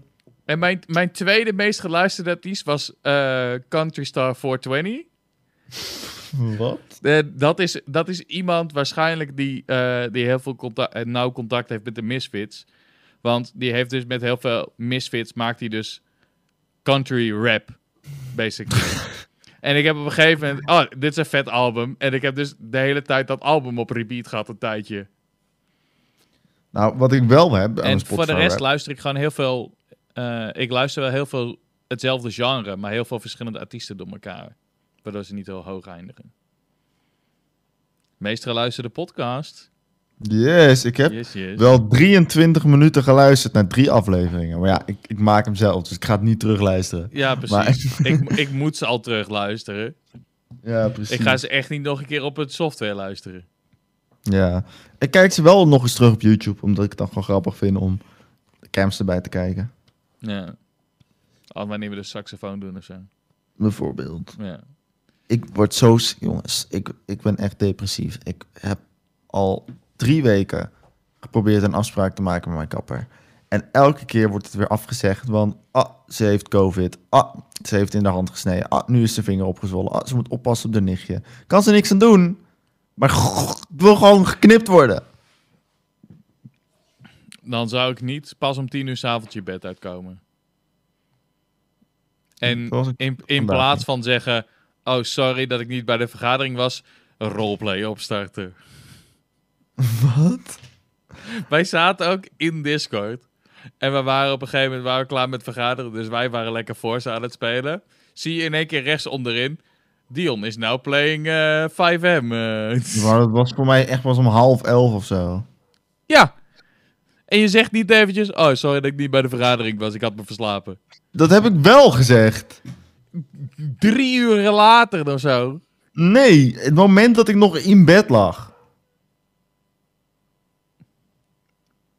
En mijn, mijn tweede meest geluisterde artiest was eh, Country Star 420. Wat? Eh, dat, is, dat is iemand waarschijnlijk die, eh, die heel veel contact, eh, nauw contact heeft met de Misfits. Want die heeft dus met heel veel Misfits maakt hij dus country rap, basically. en ik heb op een gegeven moment... Oh, dit is een vet album. En ik heb dus de hele tijd dat album op repeat gehad een tijdje. Nou, wat ik wel heb aan en mijn voor de Spotify rest rap- luister ik gewoon heel veel... eh, ik luister wel heel veel hetzelfde genre, maar heel veel verschillende artiesten door elkaar. Waardoor ze niet heel hoog eindigen. Meest geluisterde podcast. Yes, ik heb Yes, yes. wel 23 minuten geluisterd naar drie afleveringen. Maar ja, ik, ik maak hem zelf, dus ik ga het niet terugluisteren. Ja, precies. ik, ik moet ze al terug luisteren. Ja, precies. Ik ga ze echt niet nog een keer op het software luisteren. Ja. Ik kijk ze wel nog eens terug op YouTube, omdat ik het dan gewoon grappig vind om de cams erbij te kijken. Ja. Al wanneer we de saxofoon doen of zo. Bijvoorbeeld. Ja. Ik word zo... s- Jongens, ik, ik ben echt depressief. Ik heb al drie weken geprobeerd een afspraak te maken met mijn kapper. En elke keer wordt het weer afgezegd, want ah, ze heeft COVID. Ah, ze heeft in de hand gesneden. Ah, nu is ze vinger opgezwollen. Ah, ze moet oppassen op de nichtje. Kan ze niks aan doen, maar het wil gewoon geknipt worden. Dan zou ik niet pas om tien uur s'avonds je bed uitkomen. En Zoals ik in, in vandaag plaats niet. van zeggen... Oh, sorry dat ik niet bij de vergadering was. Een roleplay opstarten. Wat? Wij zaten ook in Discord. En we waren op een gegeven moment waren we klaar met vergaderen. Dus wij waren lekker Forza aan het spelen. Zie je in één keer rechts onderin. Dion is nou playing eh, 5M. eh. Maar dat was voor mij echt pas om half elf of zo. Ja. En je zegt niet eventjes... Oh, sorry dat ik niet bij de vergadering was. Ik had me verslapen. Dat heb ik wel gezegd. Drie uur later of zo. Nee, het moment dat ik nog in bed lag.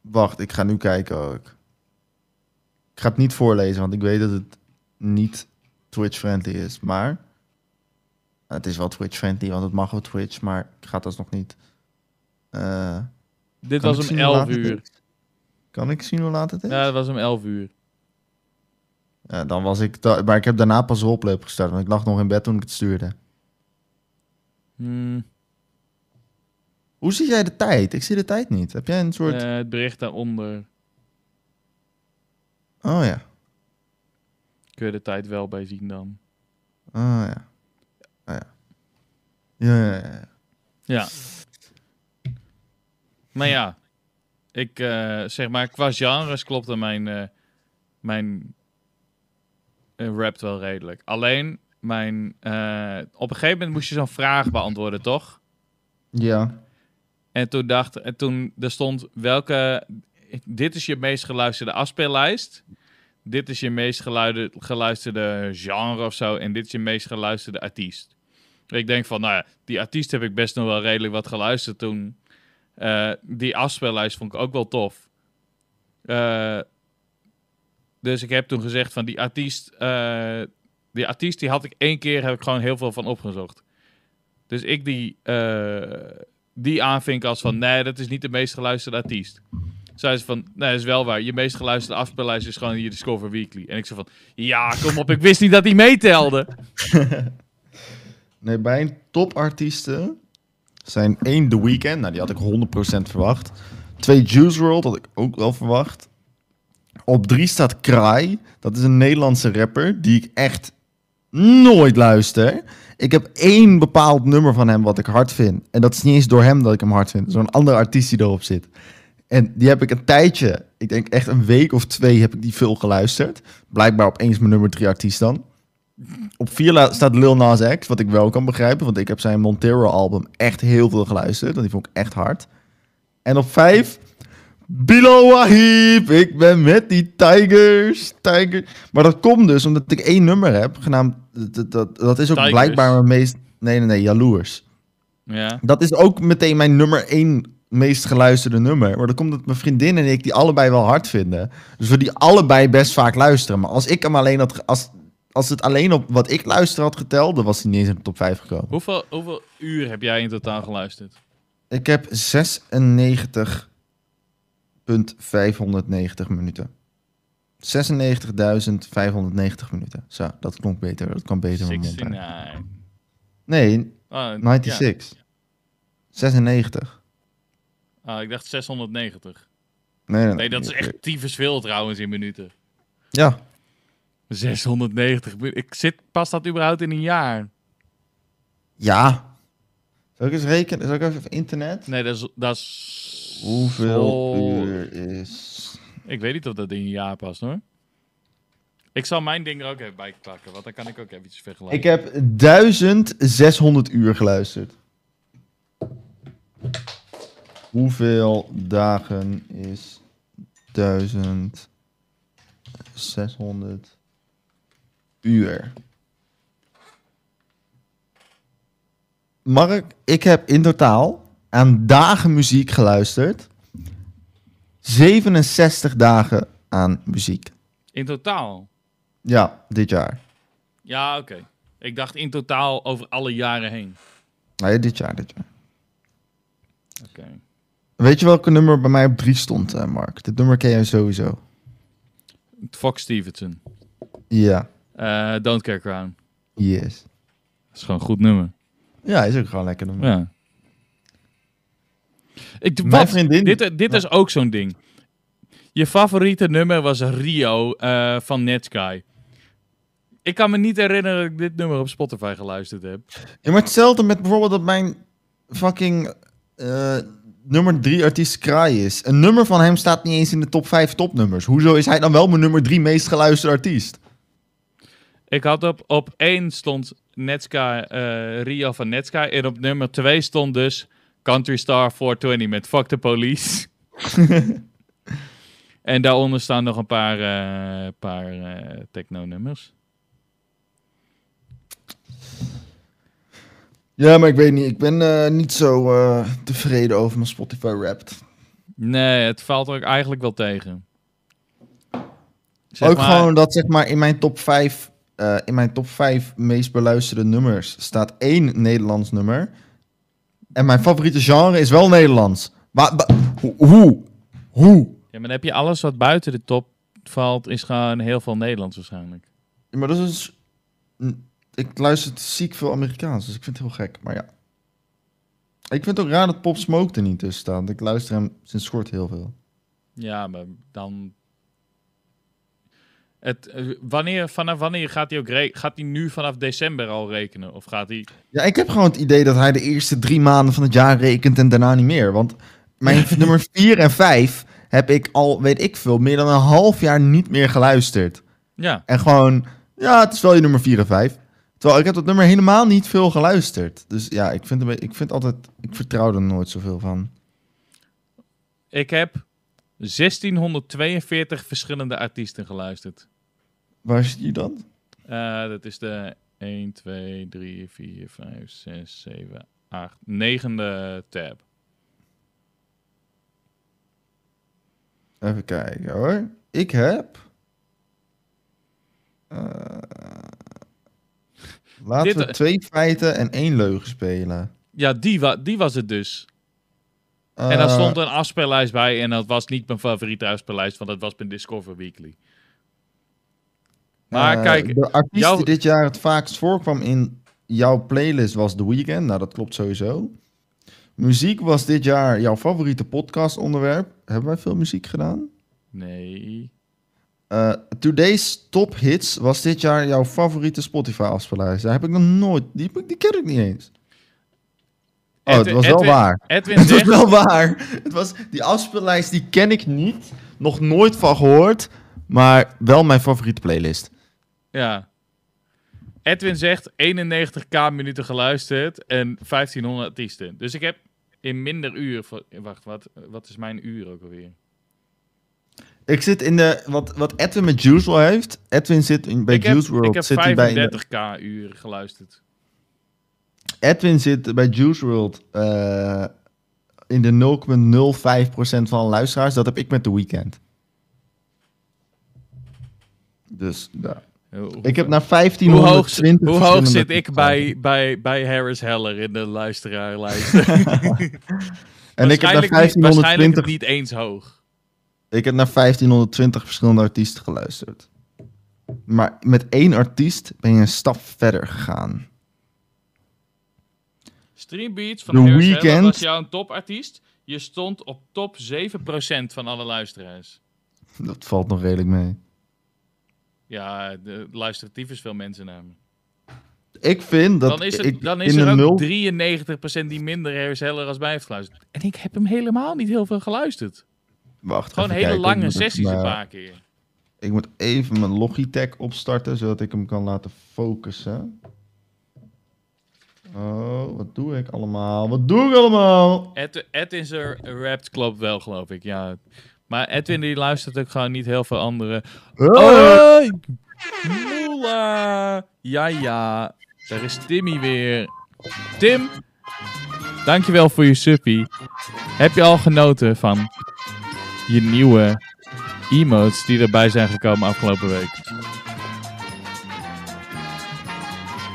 Wacht, ik ga nu kijken ook. Ik ga het niet voorlezen, want ik weet dat het niet Twitch-friendly is. Maar het is wel Twitch-friendly, want het mag op Twitch, maar ik ga het alsnog niet. Eh, Dit kan ik was om zien hoe 11 laat het uur. is? Kan ik zien hoe laat het is? Ja, dat was om 11 uur. Ja, dan was ik... da- maar ik heb daarna pas roleplay opgestart, want ik lag nog in bed toen ik het stuurde. Hmm, Hoe zie jij de tijd? Ik zie de tijd niet. Heb jij een soort... eh, het bericht daaronder. Oh ja. Kun je de tijd wel bij zien dan. Ah ja. Ah, ja. Ja, ja, ja, ja. Ja. Nou ja, ik eh, zeg maar, qua genres klopte mijn, eh mijn eh, rap wel redelijk. Alleen, mijn, eh, op een gegeven moment moest je zo'n vraag beantwoorden, toch? Ja. En toen dacht, en toen er stond welke, dit is je meest geluisterde afspeellijst. Dit is je meest geluide, geluisterde genre of zo. En dit is je meest geluisterde artiest. Ik denk van, nou ja, die artiest heb ik best nog wel redelijk wat geluisterd toen. Eh, die afspeellijst vond ik ook wel tof. Eh, dus ik heb toen gezegd van die artiest, eh, die artiest die had ik één keer, heb ik gewoon heel veel van opgezocht. Dus ik die, eh, die aanvinken als van nee, dat is niet de meest geluisterde artiest. Zei ze van, nee, dat is wel waar. Je meest geluisterde afspeellijst is gewoon hier Discover Weekly. En ik zei van, ja, kom op, ik wist niet dat die meetelde. Nee, bij een topartiesten zijn één The Weeknd. Nou, die had ik 100% verwacht. Twee Juice WRLD had ik ook wel verwacht. Op drie staat Kraai. Dat is een Nederlandse rapper die ik echt nooit luister. Ik heb één bepaald nummer van hem wat ik hard vind. En dat is niet eens door hem dat ik hem hard vind. Zo'n andere artiest die erop zit. En die heb ik een tijdje, ik denk echt een week of twee, heb ik die veel geluisterd. Blijkbaar opeens mijn nummer drie artiest dan. Op vier la- staat Lil Nas X, wat ik wel kan begrijpen, want ik heb zijn Montero-album echt heel veel geluisterd. Want die vond ik echt hard. En op vijf, Bilo Wahib, ik ben met die Tigers, Tiger. Maar dat komt dus omdat ik één nummer heb, genaamd, dat, dat, dat is ook Tigers. blijkbaar mijn meest, nee nee nee, Jaloers. Ja, Dat is ook meteen mijn nummer één meest geluisterde nummer. Maar dat komt dat mijn vriendin en ik die allebei wel hard vinden. Dus we die allebei best vaak luisteren. Maar als ik hem alleen had... ge- Als, als het alleen op wat ik luister had geteld... dan was hij niet eens in de top 5 gekomen. hoeveel, hoeveel uur heb jij in totaal geluisterd? Ik heb 96.590 minuten. 96.590 minuten. Zo, dat klonk beter. Dat kwam beter in mijn mond. 69. uit. Nee, Ah, ja. 96. 96. Ah, ik dacht 690. Nee, nee, Nee, dat is echt tyfus veel trouwens in minuten. Ja, 690 minuten. Ik zit, past dat überhaupt in een jaar? Ja. Zal ik eens rekenen? Zal ik even internet? Nee, dat is... Dat is Hoeveel zo- uur is... Ik weet niet of dat in een jaar past hoor. Ik zal mijn ding er ook even bij pakken, want dan kan ik ook eventjes vergelijken. Ik heb 1600 uur geluisterd. Hoeveel dagen is 1600 uur? Mark, ik heb in totaal aan dagen muziek geluisterd. 67 dagen aan muziek. In totaal? Ja, dit jaar. Ja, oké. Ik dacht in totaal over alle jaren heen. Nee, dit jaar, dit jaar. Oké. Weet je welke nummer bij mij op drie stond, eh, Mark? Dit nummer ken jij sowieso. Fox Stevenson. Ja, Eh, Don't Care Crown. yes. Dat is gewoon een goed nummer. Ja, is ook gewoon lekker nummer. Ja. Ik, Mijn wat? vriendin- Dit, dit is ook zo'n ding. Je favoriete nummer was Rio eh, van Netsky. Ik kan me niet herinneren dat ik dit nummer op Spotify geluisterd heb. Ja, maar hetzelfde met bijvoorbeeld dat mijn fucking eh, nummer drie artiest Kraai is. Een nummer van hem staat niet eens in de top vijf topnummers. Hoezo is hij dan wel mijn nummer drie meest geluisterde artiest? Ik had op, op 1 stond Netsky, eh, Rio van Netsky. En op nummer 2 stond dus Country Star 420 met Fuck the Police. en daaronder staan nog een paar, eh, paar eh, techno-nummers. Ja, maar ik weet niet. Ik ben eh, niet zo eh, tevreden over mijn Spotify Wrapped. Nee, het valt ook eigenlijk wel tegen. Zeg Ook maar, gewoon dat zeg maar in mijn top vijf, eh, in mijn top vijf meest beluisterde nummers staat één Nederlands nummer. En mijn favoriete genre is wel Nederlands. Maar, maar- hoe- hoe? Hoe? Ja, maar dan heb je alles wat buiten de top valt, is gewoon heel veel Nederlands waarschijnlijk. Ja, maar dat is. dus- N- Ik luister ziek veel Amerikaans, dus ik vind het heel gek. Maar ja. Ik vind het ook raar dat Pop Smoke er niet tussen staat. want Ik luister hem sinds kort heel veel. Ja, maar dan... Het, eh, wanneer, vanaf wanneer gaat hij ook re- Gaat hij nu vanaf december al rekenen? Of gaat hij... Ja, ik heb gewoon het idee dat hij de eerste drie maanden van het jaar rekent en daarna niet meer. Want mijn nummer vier en vijf heb ik al, weet ik veel, meer dan een half jaar niet meer geluisterd. Ja, En gewoon, ja, het is wel je nummer vier en vijf. Terwijl ik heb dat nummer helemaal niet veel geluisterd. Dus ja, ik vind, het een be- ik vind altijd, ik vertrouw er nooit zoveel van. ik heb 1642 verschillende artiesten geluisterd. Waar zit je dan? Eh, dat is de 1, 2, 3, 4, 5, 6, 7, 8, negende tab. Even kijken hoor. Ik heb. Eh, laten Dit- eh, we twee feiten en één leugen spelen. Ja, die, wa die was het dus. en daar Eh, stond een afspeellijst bij en dat was niet mijn favoriete afspeellijst, want dat was mijn Discover Weekly. Maar eh, kijk, De artiest jouw- die dit jaar het vaakst voorkwam in jouw playlist was The Weeknd. Nou, dat klopt sowieso. Muziek was dit jaar jouw favoriete podcastonderwerp. Hebben wij veel muziek gedaan? nee. Eh, Today's Top Hits was dit jaar jouw favoriete Spotify-afspeellijst. Daar heb ik nog nooit... Die, heb ik- die ken ik niet eens. Oh, het Edwin- was wel Edwin- waar. Edwin Het was zegt, wel waar. Het was, die afspeellijst die ken ik niet. Nog nooit van gehoord. Maar wel mijn favoriete playlist. ja. Edwin zegt 91k minuten geluisterd en 1500 artiesten. Dus ik heb in minder uur. voor- Wacht, wat, wat is mijn uur ook alweer? Ik zit in de... Wat, wat Edwin met Juice WRLD heeft... Edwin zit in, bij ik heb, Juice WRLD... ik heb zit hij bij in de- 35k uur geluisterd. Edwin zit bij Juice WRLD... eh, in de 0,05% van de luisteraars. Dat heb ik met The Weeknd. Dus ja. Hoe- Ik heb hoe- naar hoe hoog, 1520... hoe hoog zit verschillende ik bij, bij, bij Harris Heller in de luisteraarlijst? En ik heb naar Waarschijnlijk niet- 1520 Waarschijnlijk niet eens hoog. Ik heb naar 1520 verschillende artiesten geluisterd. Maar met één artiest ben je een stap verder gegaan. Streambeats van The Harris Weeknd. Heller was jou een topartiest. Je stond op top 7% van alle luisteraars. Dat valt nog redelijk mee. Ja, de luisteratief is veel mensen naar me. Ik vind dat Dan is, ik het, dan is in de er nul... ook 93% die minder Harris Heller als mij heeft geluisterd. En ik heb hem helemaal niet heel veel geluisterd. Wacht, Gewoon even hele kijken. Ik lange moet even sessies een mijn- paar keer. Ik moet even mijn Logitech opstarten, zodat ik hem kan laten focussen. Oh, wat doe ik allemaal? Wat doe ik allemaal? Ed, Edwin zijn rapt klopt wel, geloof ik, ja. Maar Edwin die luistert ook gewoon niet heel veel andere... Oh! Moela! Ja, ja. Daar is Timmy weer. Tim, dankjewel voor je suppie. Heb je al genoten van je nieuwe emotes die erbij zijn gekomen afgelopen week?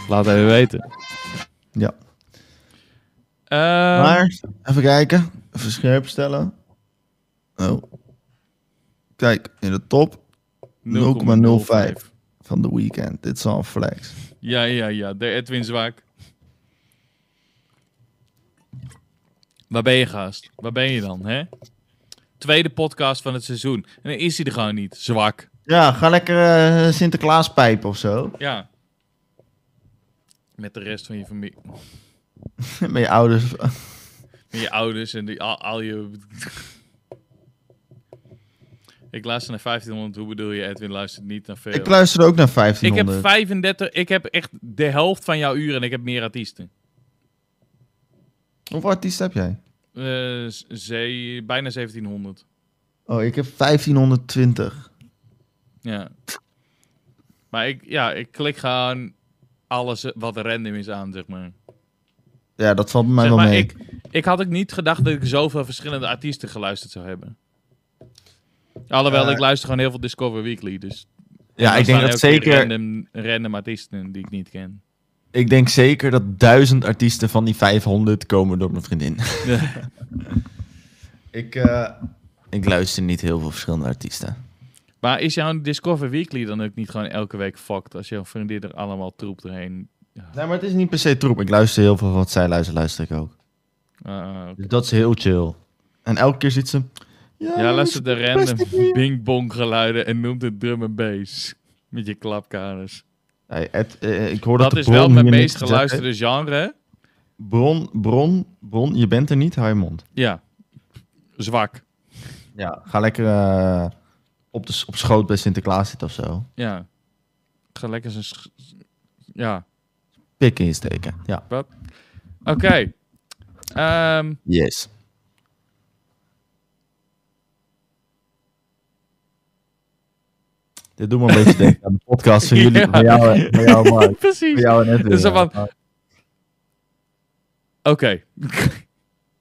Laat even weten. Ja. Ehm, Eh, Maar, even kijken. Verscherp stellen. Oh. Kijk, in de top 0,05 van de weekend. Dit is al een flex. Ja, ja, ja. De Edwin Zwaak. Waar ben je, gast? Waar ben je dan, hè? Tweede podcast van het seizoen. En dan is hij er gewoon niet. Zwak. Ja, ga lekker eh, Sinterklaas pijpen of zo. Ja. Met de rest van je familie. Met je ouders. Met je ouders en die, al, al je... Ik luister naar 1500. Hoe bedoel je, Edwin? Luistert niet naar veel. Ik luisterde ook naar Ik 1500. heb 35... Ik heb echt de helft van jouw uren en ik heb meer artiesten. Hoeveel artiesten heb jij? Eh, z- zee, bijna 1700. Oh, ik heb 1520. Ja. Maar ik, ja, ik klik gewoon alles wat random is aan, zeg maar. Ja, dat valt bij mij Zeg wel maar mee. ik, ik had ook niet gedacht dat ik zoveel verschillende artiesten geluisterd zou hebben. Alhoewel, Eh. ik luister gewoon heel veel Discover Weekly, dus... ja, Er ik denk, staan dat elke keer zeker, Random, random artiesten die ik niet ken. ik denk zeker dat duizend artiesten van die 500 komen door mijn vriendin. ik, eh, ik luister niet heel veel verschillende artiesten. maar is jouw Discover Weekly dan ook niet gewoon elke week fucked als jouw vriendin er allemaal troep doorheen... Nee, maar het is niet per se troep. Ik luister heel veel van wat zij luistert, luister ik ook. Ah, oké. Dus dat is heel chill. En elke keer ziet ze... Ja, dat is luister de random bing-bong geluiden en noemt het drum en bass. Met je klapkamers. Hey, Ed, eh, ik hoor dat, Dat, de is bron wel mijn hier eh, meest niks gezegd heeft. geluisterde genre. Bron, bron, bron, je bent er niet, hou je mond. Ja. Zwak. Ja, ga lekker eh, op, de, s- op schoot bij Sinterklaas zitten of zo. Ja. Ga lekker zijn... sch- Ja. Pik in je steken, ja. Oké. Ehm, Yes. Dit doet me een beetje denken aan de podcast van jullie, Ja. van jou, en- van jou, en Mark. precies. Van Oké. jou en Edwin. Dus dan ja.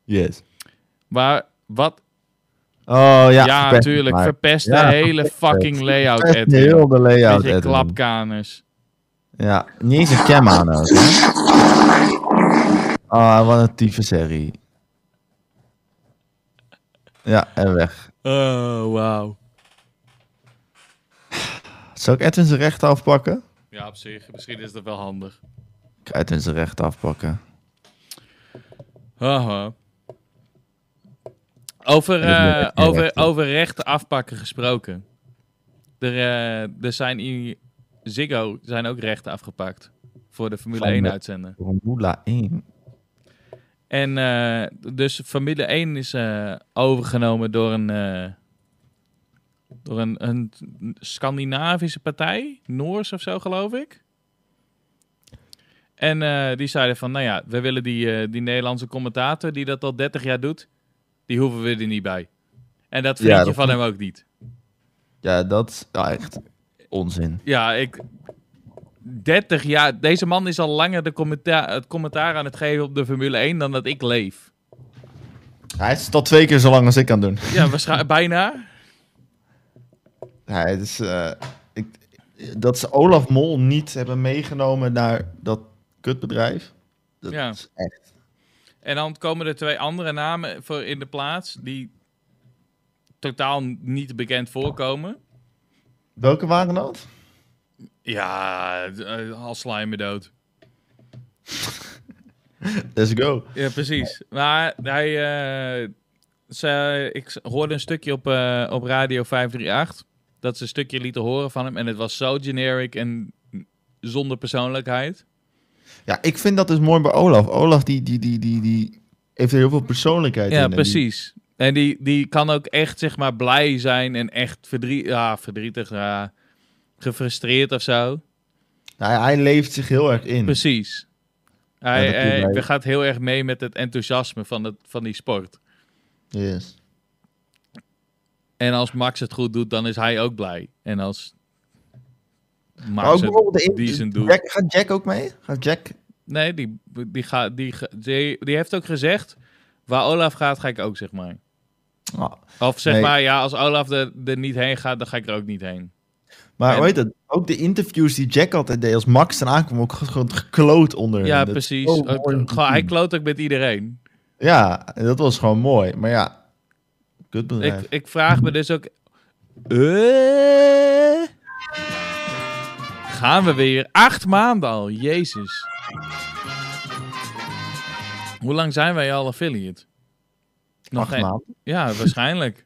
Yes. Maar wat... Oh ja, ja, verpest, natuurlijk. maar- Verpest de Ja, hele verpest fucking layout, verpest Edwin. Heel de layout, Met je Edwin. klapkaners. Ja, niet eens een cam aan ook. hè? Ah, wat een tiefe serie. Ja, en weg. Oh, wauw. Zal ik Edwin zijn recht afpakken? Ja, op zich. Misschien is dat wel handig. Ik ga Edwin zijn recht afpakken. Haha. Over, eh, Dat is net over, recht, hè? over rechten afpakken gesproken. Er, eh, er zijn in Ziggo zijn ook rechten afgepakt. Voor de Formule Van 1 de- uitzenden. Formula 1. En eh, dus Formule 1 is eh, overgenomen door een. eh, door een, een Scandinavische partij, Noors of zo geloof ik. En eh, die zeiden van, nou ja, we willen die, eh, die Nederlandse commentator die dat al 30 jaar doet, die hoeven we er niet bij. En dat Ja, vind je dat van hem ook niet. Ja, dat is ja, echt onzin. Ja, ik. 30 jaar. Deze man is al langer de commentaar, het commentaar aan het geven op de Formule 1 dan dat ik leef. Hij is al twee keer zo lang als ik kan doen. Ja, waarschijnlijk bijna. Hij is, eh, ik, dat ze Olaf Mol niet hebben meegenomen naar dat kutbedrijf. Dat Ja. is echt. En dan komen er twee andere namen voor in de plaats die totaal niet bekend voorkomen. Welke waren dat? Ja, eh, al sla je me dood. Let's go. Ja, precies. Maar hij, eh, ze, ik hoorde een stukje op, eh, op Radio 538 dat ze een stukje lieten horen van hem en het was zo generic en zonder persoonlijkheid. Ja, ik vind dat dus mooi bij Olaf. Olaf die, die, die, die, die heeft er heel veel persoonlijkheid in. Ja, en die- precies. En die, die kan ook echt, zeg maar, blij zijn en echt verdrie ja, verdrietig, ja, gefrustreerd of zo. hij, Nou hij leeft zich heel erg in. Precies. Hij, Hm. dat doet hij mij- hij gaat heel erg mee met het enthousiasme van, het, van die sport. Yes. En als Max het goed doet, dan is hij ook blij. En als Maar ook Max het... bijvoorbeeld de die zijn doel. Jack, gaat Jack ook mee? Gaat Jack? Nee, die, die, ga, die, ga- die, die heeft ook gezegd... Waar Olaf gaat, ga ik ook, zeg maar. Ah, Of zeg Nee. maar, ja, als Olaf er, er niet heen gaat, dan ga ik er ook niet heen. Maar En- hoe heet dat? Ook de interviews die Jack altijd deed als Max eraan kwam, ook gewoon gekloot onder. Ja, hem. Dat- precies. oh, mooi om Ook- te gewoon- hij zien. kloot ook met iedereen. Ja, dat was gewoon mooi. Maar ja, kutbedrijf. Ik, ik vraag me dus ook... Eh? gaan we weer? Acht maanden al, jezus. Hoe lang zijn wij al affiliate? Nog Acht geen- maanden. Ja, waarschijnlijk.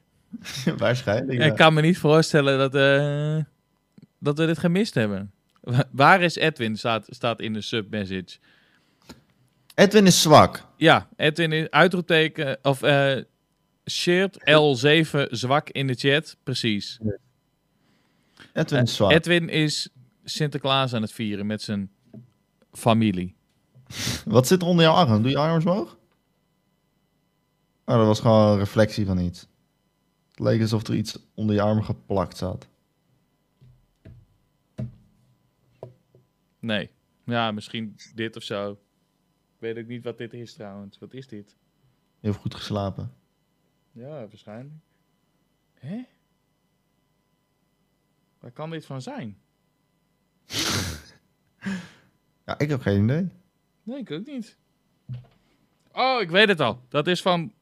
Waarschijnlijk. Ik ja. kan me niet voorstellen dat, eh, dat we dit gemist hebben. Wa- Waar is Edwin? Staat, staat in de submessage. Edwin is zwak. Ja, Edwin is uitroepteken of eh shared L7 zwak in de chat. Precies. Eh, Edwin is zwak. Edwin is Sinterklaas aan het vieren met zijn familie. Wat zit er onder jouw arm? Doe je arm eens omhoog? Oh, dat was gewoon een reflectie van iets. Het leek alsof er iets onder je arm geplakt zat. Nee. Ja, misschien dit of zo. Weet ik niet wat dit is trouwens. Wat is dit? Heel goed geslapen. Ja, waarschijnlijk. Hè? Waar kan dit van zijn? Ja, ik heb geen idee. Nee, ik ook niet. Oh, ik weet het al. Dat is van.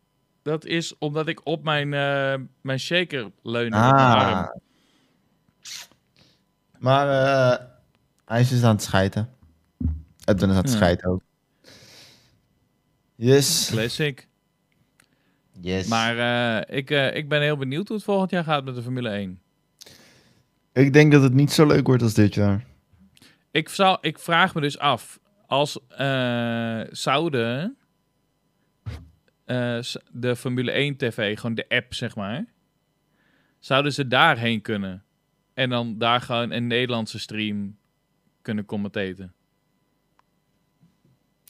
Dat is omdat ik op mijn, eh, mijn shaker leun. met mijn Ah. arm. Maar eh, hij is dus aan het scheiden. Edwin is aan het Ja. scheiden ook. Yes. Classic. yes. Maar eh, ik, eh, ik ben heel benieuwd hoe het volgend jaar gaat met de Formule 1. Ik denk dat het niet zo leuk wordt als dit jaar. Ik, zou, ik vraag me dus af. Als eh, zouden eh, s- de Formule 1 TV, gewoon de app zeg maar, zouden ze daarheen kunnen? En dan daar gewoon een Nederlandse stream kunnen commentaten?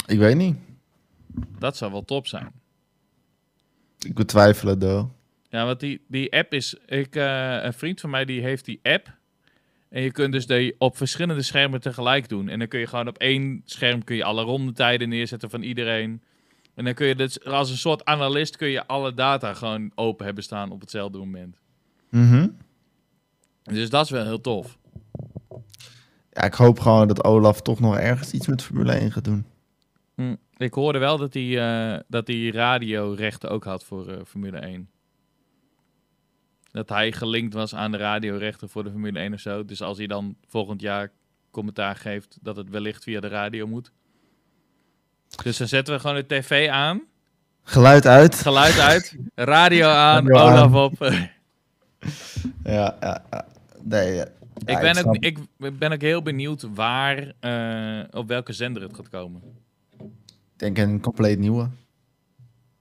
Ik weet niet. Dat zou wel top zijn. Ik moet twijfelen, though. Ja, want die, die app is... Ik, eh, een vriend van mij die heeft die app. En je kunt dus die op verschillende schermen tegelijk doen. En dan kun je gewoon op één scherm kun je alle rondetijden neerzetten van iedereen. En dan kun je dus als een soort analist kun je alle data gewoon open hebben staan op hetzelfde moment. Mhm. Dus dat is wel heel tof. Ja, ik hoop gewoon dat Olaf toch nog ergens iets met Formule 1 gaat doen. Hm. Ik hoorde wel dat die, eh, dat die radiorechten ook had voor eh, Formule 1. Dat hij gelinkt was aan de radiorechten voor de Formule 1 of zo. Dus als hij dan volgend jaar commentaar geeft dat het wellicht via de radio moet. Dus dan zetten we gewoon de tv aan, Geluid uit. geluid uit, radio aan, Radio aan. Olaf op. Ja, ja, ja. Nee, ja. Ja, ik, ben snap ook, ik ben ook heel benieuwd waar, eh, op welke zender het gaat komen. Ik denk een compleet nieuwe.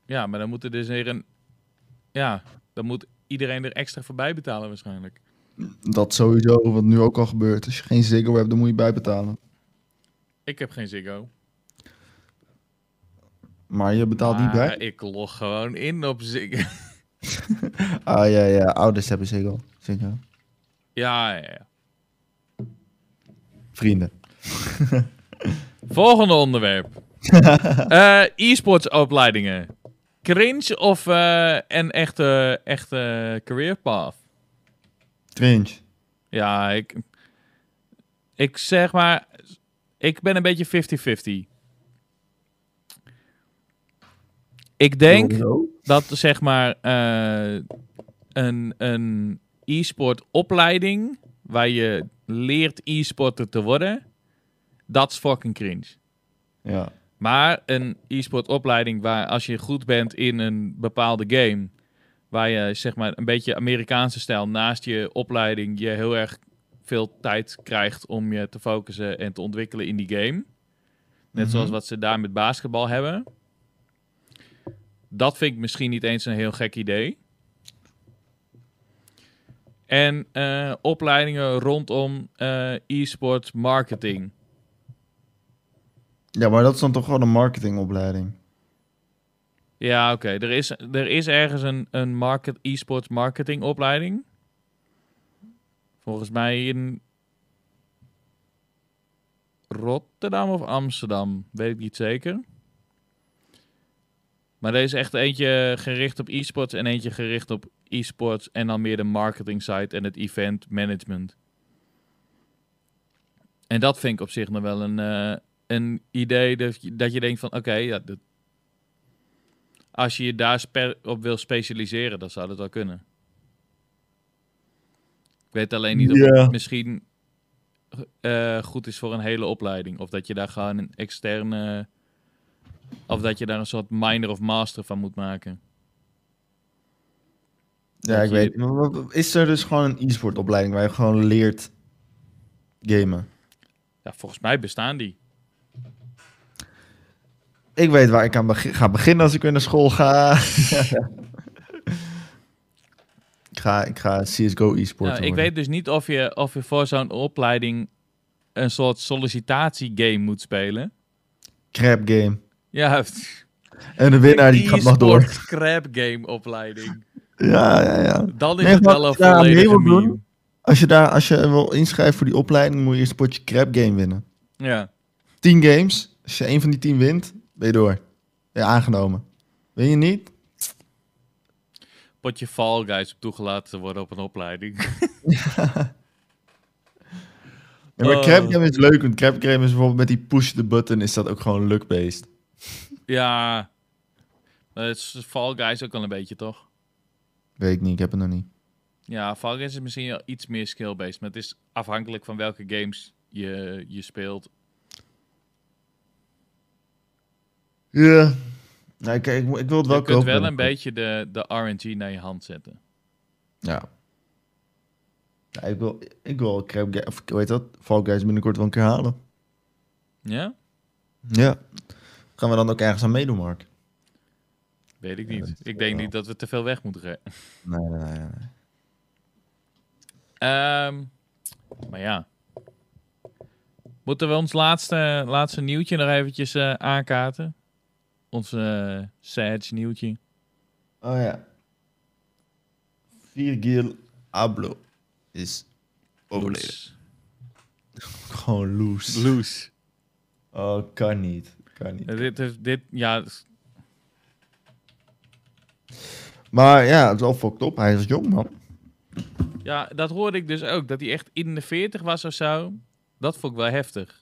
Ja, maar dan moet er dus weer een. Ja, dan moet iedereen er extra voor bijbetalen waarschijnlijk. Dat sowieso, wat nu ook al gebeurt. Als je geen Ziggo hebt, dan moet je bijbetalen. Ik heb geen Ziggo. Maar je betaalt niet Maar bij. ik log gewoon in op Ziggo. Ah ja, ja, ouders hebben Ziggo. Ziggo. Ja, ja, ja. Vrienden. Volgende onderwerp. Eh, e-sports opleidingen. Cringe of eh, een echte, echte career path? Cringe. Ja, ik... Ik zeg maar... Ik ben een beetje 50-50. Ik denk... dat zeg maar eh, een, een e-sport opleiding waar je leert e-sporter te worden, dat is fucking cringe. Ja. Maar een e-sport opleiding waar als je goed bent in een bepaalde game, waar je zeg maar een beetje Amerikaanse stijl naast je opleiding je heel erg veel tijd krijgt om je te focussen en te ontwikkelen in die game. Net Mhm. zoals wat ze daar met basketbal hebben. Dat vind ik misschien niet eens een heel gek idee. En eh, opleidingen rondom eh, e-sport marketing. ja, maar dat is dan toch gewoon een marketingopleiding. Ja, oké. Er, is, er is ergens een, een market, e-sports marketing opleiding. Volgens mij in Rotterdam of Amsterdam. Weet ik niet zeker. Maar er is echt eentje gericht op e-sports en eentje gericht op e-sports en dan meer de marketing site en het event management. En dat vind ik op zich nog wel een, eh, een idee dat je, dat je denkt van oké, ja, dat, Als je je daar spe- op wil specialiseren, dan zou dat wel kunnen. Ik weet alleen niet of Ja. het misschien eh, goed is voor een hele opleiding. Of dat je daar gewoon een externe... Of dat je daar een soort minor of master van moet maken. Ja, Dat ik je- weet. Maar wat- Is er dus gewoon een e-sport opleiding waar je gewoon leert gamen? Ja, volgens mij bestaan die. Ik weet waar ik aan begin, ga beginnen als ik weer naar school ga. ik ga. Ik ga CSGO e-sport Nou, ik worden. weet dus niet of je, of je voor zo'n opleiding een soort sollicitatiegame moet spelen. Crap game. Ja, En de winnaar die gaat nog door. e-sport crap game opleiding. Ja, ja, ja. Dan is Nee, het maar wel een als je daar aan mee volledige wil doen- meme. Als je, daar, als je wil inschrijven voor die opleiding, moet je eerst een potje crap game winnen. Ja. 10 games. Als je één van die 10 wint, ben je door. Ben je aangenomen. Win je niet? Potje Fall Guys op toegelaten te worden op een opleiding. Ja, maar Oh. crap game is leuk, want crap game is bijvoorbeeld met die push the button is dat ook gewoon luck-based. ja. Maar Het is Fall Guys ook al een beetje, toch? Weet ik niet, ik heb het nog niet. Ja, Fall Guys is misschien wel iets meer skill-based. Maar het is afhankelijk van welke games je, je speelt. Ja. Nou, ik, ik, ik wil het wel je kunt kopen. wel een beetje de, de RNG naar je hand zetten. Ja. Ja, ik wil, ik wil crap game, of hoe heet dat? Fall Guys binnenkort wel een keer halen. Ja? Ja. Gaan we dan ook ergens aan meedoen, Mark? Weet ik Ja, dat is niet. ik denk wel- niet dat we te veel weg moeten rennen. Nee, nee, nee. nee. Ehm, maar ja. Moeten we ons laatste, laatste nieuwtje nog eventjes eh, aankaarten? Ons eh Sage nieuwtje. Oh ja. Virgil Abloh is overleden. Loes. Gewoon loose. Loes. Oh, kan niet. Kan niet. Eh, dit, is- dit, ja, s- Maar ja, het is wel fucked op. Hij is jong, man. ja, dat hoorde ik dus ook. Dat hij echt in de 40 was of zo. Dat vond ik wel heftig.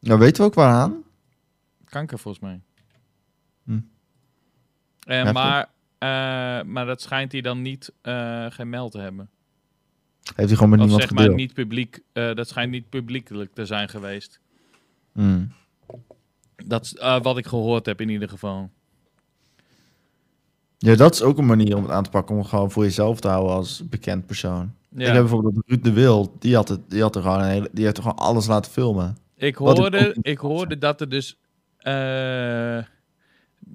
Nou, weten we ook waaraan? Kanker volgens mij. Hm. Eh, Heftig. maar, eh, maar dat schijnt hij dan niet eh geen mail te hebben. Heeft hij gewoon met Of niemand zeg maar gedeeld. niet publiek. eh, dat schijnt niet publiekelijk te zijn geweest. Hmm. Dat is eh, wat ik gehoord heb in ieder geval. Ja, dat is ook een manier om het aan te pakken. Om het gewoon voor jezelf te houden als bekend persoon. Ja. Ik heb bijvoorbeeld dat Ruud de Wil. Die, had het, die, had er gewoon een hele, die heeft er gewoon alles laten filmen. Ik Wat ik hoorde, ook ik hoorde dat er dus. eh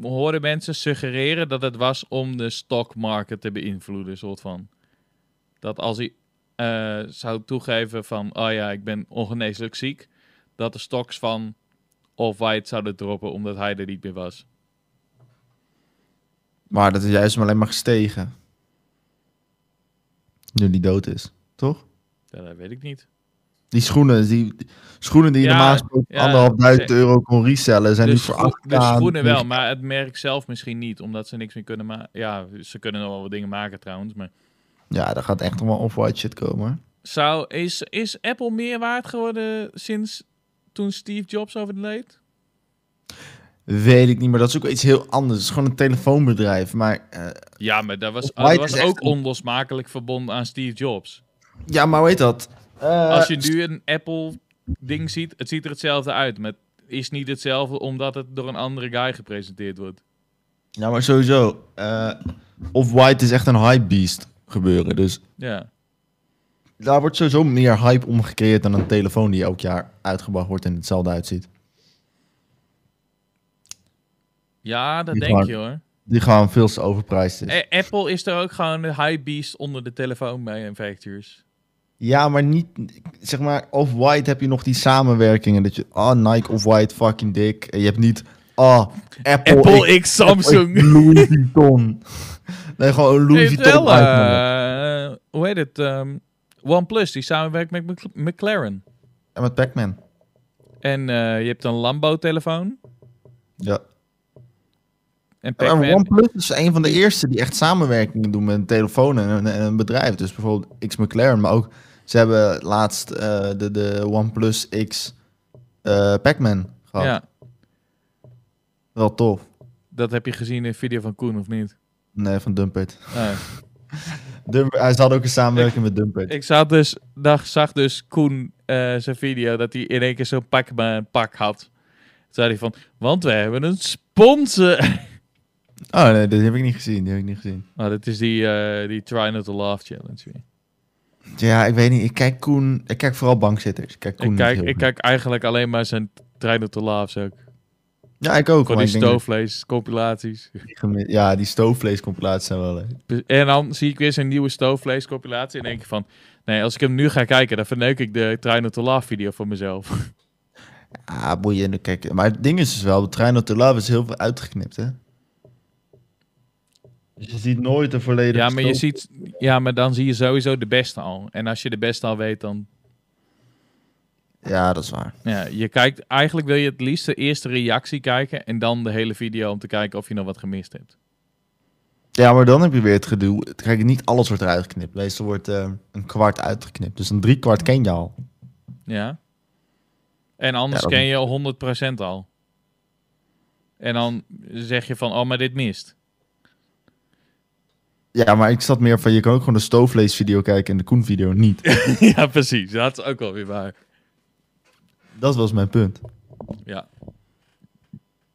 hoorde mensen suggereren dat het was om de stock market te beïnvloeden, soort van. Dat als hij eh, zou toegeven van, oh ja, ik ben ongeneeslijk ziek, dat de stocks van of White zouden droppen omdat hij er niet meer was. Maar dat is juist hem alleen maar gestegen. Nu die dood is. Toch? Ja, dat weet ik niet. Die schoenen, die, die schoenen die je Ja, normaal gesproken voor ja, anderhalfduizend ze- euro kon resellen, zijn nu de, voor scho- acht de schoenen wel, maar het merk zelf misschien niet, omdat ze niks meer kunnen maken. Ja, ze kunnen nog wel wat dingen maken trouwens, maar. Ja, daar gaat echt nog wel off-white shit komen. hoor. Zou, is, is Apple meer waard geworden sinds toen Steve Jobs overleed? Weet ik niet, maar dat is ook wel iets heel anders. Het is gewoon een telefoonbedrijf. Maar eh, Ja, maar dat was, Of dat White was is echt ook een- onlosmakelijk verbonden aan Steve Jobs. ja, maar hoe heet dat? Eh, Als je nu een Apple-ding ziet, het ziet er hetzelfde uit. Maar het is niet hetzelfde omdat het door een andere guy gepresenteerd wordt. Ja, maar sowieso. eh Off-white is echt een hype beast gebeuren. Dus Ja, daar wordt sowieso meer hype om gecreëerd dan een telefoon die elk jaar uitgebracht wordt en hetzelfde uitziet. ja dat Niet denk waar. je hoor. Die gewoon veel te overprijsd is. Eh, Apple is er ook gewoon een high beast onder de telefoon manufacturers. Ja, maar niet. Zeg maar, off-white heb je nog die samenwerkingen. Dat je. Ah, Nike off-white, fucking dik. En je hebt niet. Ah, Apple. Apple ik- X, Samsung. Apple, ik, Louis Vuitton. nee, gewoon een Louis heeft Vuitton. wel, uitnodigen. eh, hoe heet het? ehm, OnePlus, die samenwerkt met Mc- McLaren. En met Pac-Man. En eh, je hebt een Lambo-telefoon. Ja. En En Pac-Man. OnePlus is een van de eerste die echt samenwerkingen doen met een telefoon en een, en een bedrijf. Dus bijvoorbeeld X McLaren, maar ook ze hebben laatst eh, de, de OnePlus X eh Pac-Man gehad. ja, Wel tof. dat heb je gezien in een video van Koen, of niet? Nee, van Dumpet. Ah. Dump, hij had ook een samenwerking met Dumpet. Ik zat dus, dag, zag dus Koen eh, zijn video dat hij in één keer zo'n pak, maar een pak had. Toen zei hij van, want we hebben een sponsor. Oh nee, dat heb ik niet gezien. Die heb ik niet gezien. Nou, dat is die, eh, die Try Not To Laugh Challenge weer. Ja, ik weet niet. Ik kijk Koen. Ik kijk vooral bankzitters. Ik kijk Koen. Ik niet kijk, heel ik goed. kijk eigenlijk alleen maar zijn Try Not To Laughs ook. Ja, ik ook. Gewoon maar die ik denk dat stoofvlees, compilaties. ik die gemi- Ja, die stoofvleescompilaties zijn wel leuk. Dus, En dan zie ik weer zijn nieuwe stoofvlees compilatie en denk ik van... Nee, als ik hem nu ga kijken, dan verneuk ik de Try Not To Laugh video voor mezelf. Ah, boeiend. Kijk, maar het ding is dus wel, de Train Not To Love is heel veel uitgeknipt, hè? Dus je ziet nooit een volledige Ja maar, je stoof- ziet, ja, maar dan zie je sowieso de beste al. En als je de beste al weet, dan Ja, dat is waar. Ja, je kijkt, eigenlijk wil je het liefst de eerste reactie kijken en dan de hele video om te kijken of je nog wat gemist hebt. Ja, maar dan heb je weer het gedoe. Kijk, niet alles wordt eruit geknipt. Meestal wordt eh, een kwart uitgeknipt. Dus een driekwart ken je al. Ja. En anders Ja, dat- ken je 100% al. En dan zeg je van, oh, maar dit mist. Ja, maar ik zat meer van, je kan ook gewoon de stoofvleesvideo kijken en de Koen-video niet. ja, precies. Dat is ook wel weer waar. dat was mijn punt.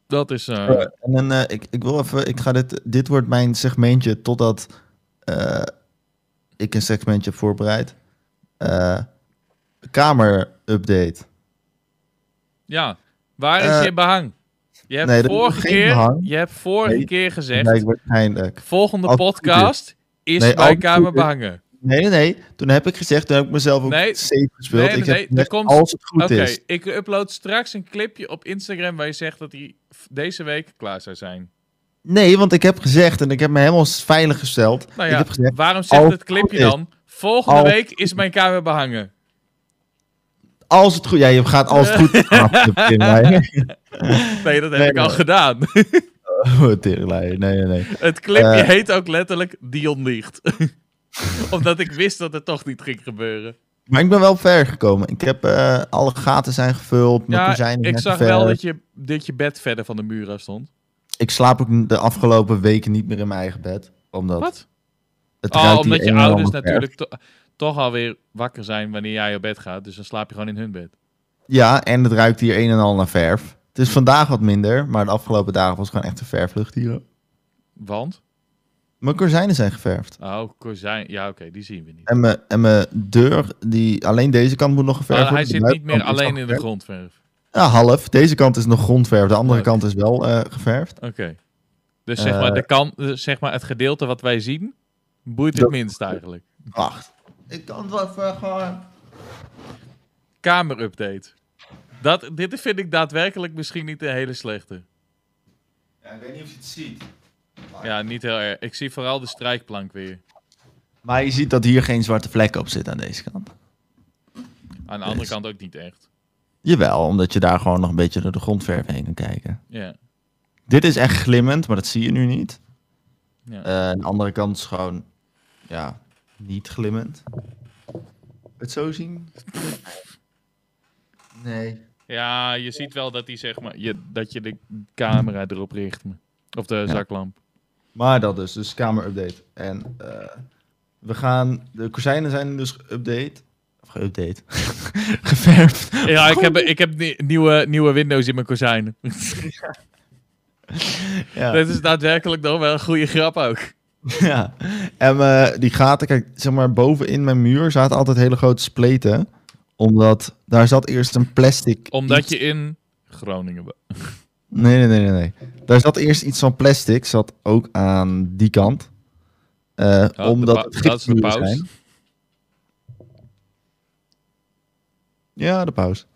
Dat is... eh, Eh, en dan, eh, ik, ik wil even, ik ga dit, dit wordt mijn segmentje totdat eh, ik een segmentje heb voorbereid. Eh, Kamer-update. ja. Waar is eh, je behang? Je hebt nee, dat is vorige, geen keer, behang. je hebt vorige Nee, keer gezegd, Nee, waarschijnlijk. volgende Als het goed is. podcast is Nee, als bij het goed Kamer is. behangen. Nee, nee, nee. Toen heb ik gezegd, toen heb ik mezelf ook Nee, safe gespeeld. nee, nee, ik heb nee, er gezegd, komt- als het goed Oké, is. ik upload straks een clipje op Instagram waar je zegt dat hij f- deze week klaar zou zijn. Nee, want ik heb gezegd en ik heb me helemaal veilig gesteld. Nou ik ja, heb gezegd, waarom zegt als het het goed clipje is. dan? Volgende Als- week is mijn kamer behangen. als het goed... Ja, je gaat als het goed is. Ah, teringleier. Nee, dat heb Nee, ik al nee. gedaan. Oh, teringleier. Nee, nee, nee. het clipje Eh. heet ook letterlijk Dion niet. Omdat ik wist dat het toch niet ging gebeuren. Maar ik ben wel ver gekomen. Ik heb eh, alle gaten zijn gevuld. Mijn Ja, kozijnen ik zijn zag ver. wel dat je, dat je bed verder van de muur af stond. Ik slaap ook de afgelopen weken niet meer in mijn eigen bed. Omdat Wat? het ruikt Oh, hier omdat je een en ouders ander verf. natuurlijk to- toch alweer wakker zijn wanneer jij op bed gaat. Dus dan slaap je gewoon in hun bed. Ja, en het ruikt hier een en al naar verf. Het is vandaag wat minder, maar de afgelopen dagen was het gewoon echt een verflucht hier. Want? Mijn kozijnen zijn geverfd. Oh, kozijn. Ja, oké, die zien we niet. En mijn, en mijn deur, die, alleen deze kant moet nog geverfd Maar hij worden. zit De niet meer buitenkant is alleen al in de geverfd. grondverf. Ja, half. Deze kant is nog grondverf, de andere Oké. kant is wel eh, geverfd. Oké. Dus zeg maar, Eh. de kan, eh, zeg maar het gedeelte wat wij zien, boeit het Dat- minst eigenlijk. Wacht. Ik kan het wel even gewoon... Kamerupdate. Dat, dit vind ik daadwerkelijk misschien niet de hele slechte. Ja, ik weet niet of je het ziet. Ja, niet heel erg. Ik zie vooral de strijkplank weer. Maar je ziet dat hier geen zwarte vlekken op zitten aan deze kant. Aan de andere Yes. kant ook niet echt. Jawel, omdat je daar gewoon nog een beetje door de grondverf heen kan kijken. Ja. Dit is echt glimmend, maar dat zie je nu niet. Ja. Eh, en de andere kant is gewoon, ja, niet glimmend. Het zo zien? Nee. ja, je ziet wel dat, die, zeg maar, je, dat je de camera erop richt. Of de zaklamp. Maar dat dus, dus kamerupdate. En eh, we gaan, de kozijnen zijn dus geüpdate. Of geüpdate. Geverfd. Ja, ik heb, ik heb ni- nieuwe, nieuwe windows in mijn kozijnen. Ja. Dat is daadwerkelijk nog wel een goede grap ook. ja. En eh, die gaten, kijk, zeg maar bovenin mijn muur zaten altijd hele grote spleten. Omdat, daar zat eerst een plastic Omdat iets- je in Groningen bent. Nee, nee, nee, nee, nee. Daar zat eerst iets van plastic, zat ook aan die kant. Eh, Oh, de omdat pau- het dat is de gipsmuren paus. zijn. Dus Ja, de paus.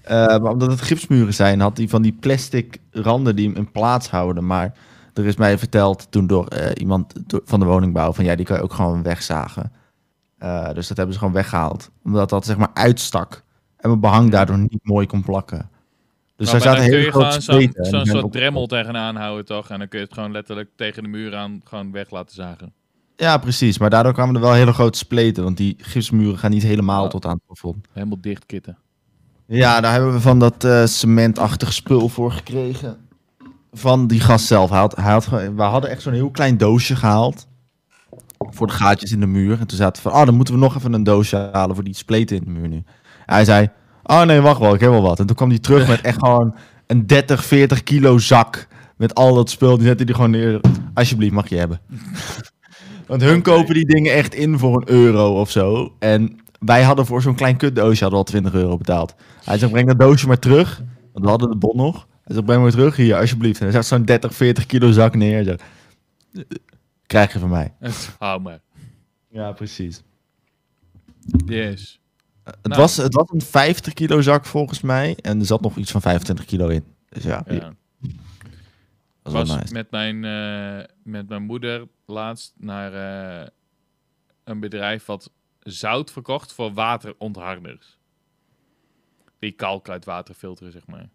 Eh, maar omdat het gipsmuren zijn, had hij van die plastic randen die hem in plaats houden. Maar er is mij verteld toen door eh, iemand do- van de woningbouw van ja, die kan je ook gewoon wegzagen. Eh, dus dat hebben ze gewoon weggehaald. Omdat dat zeg maar uitstak. En mijn behang daardoor niet mooi kon plakken. Dus daar Nou, Maar zaten dan kun hele je grote gewoon zo'n spleten. en zo'n die zijn soort op- dremmel tegenaan houden, toch? En dan kun je het gewoon letterlijk tegen de muur aan gewoon weg laten zagen. Ja, precies. Maar daardoor kwamen er wel hele grote spleten. Want die gipsmuren gaan niet helemaal Ja. tot aan het plafond. Helemaal dichtkitten. Ja, daar hebben we van dat eh, cementachtig spul voor gekregen. van die gast zelf. Hij had, hij had, ge- we hadden echt zo'n heel klein doosje gehaald. Voor de gaatjes in de muur. En toen zaten we van, oh, dan moeten we nog even een doosje halen voor die spleten in de muur nu. Hij zei, oh nee, wacht wel, ik heb wel wat. En toen kwam hij terug met echt gewoon een 30, 40 kilo zak. Met al dat spul. Die zette hij gewoon neer. Alsjeblieft, mag je hebben. Want hun Oké. kopen die dingen echt in voor een euro of zo. En wij hadden voor zo'n klein kutdoosje hadden we al 20 euro betaald. Hij zei, breng dat doosje maar terug. Want we hadden de bon nog. Hij zei, breng maar terug hier, alsjeblieft. En hij zet zo'n 30, 40 kilo zak neer. Zo. Krijg je van mij. Hou me. Ja, precies. Yes. Het, Nou. was, het was een 50 kilo zak volgens mij. En er zat nog iets van 25 kilo in. Dus ja, Ja. dat was was wel nice. met, mijn, eh, met mijn moeder laatst naar eh, een bedrijf wat zout verkocht voor waterontharders. Die kalk uit water filteren, zeg maar.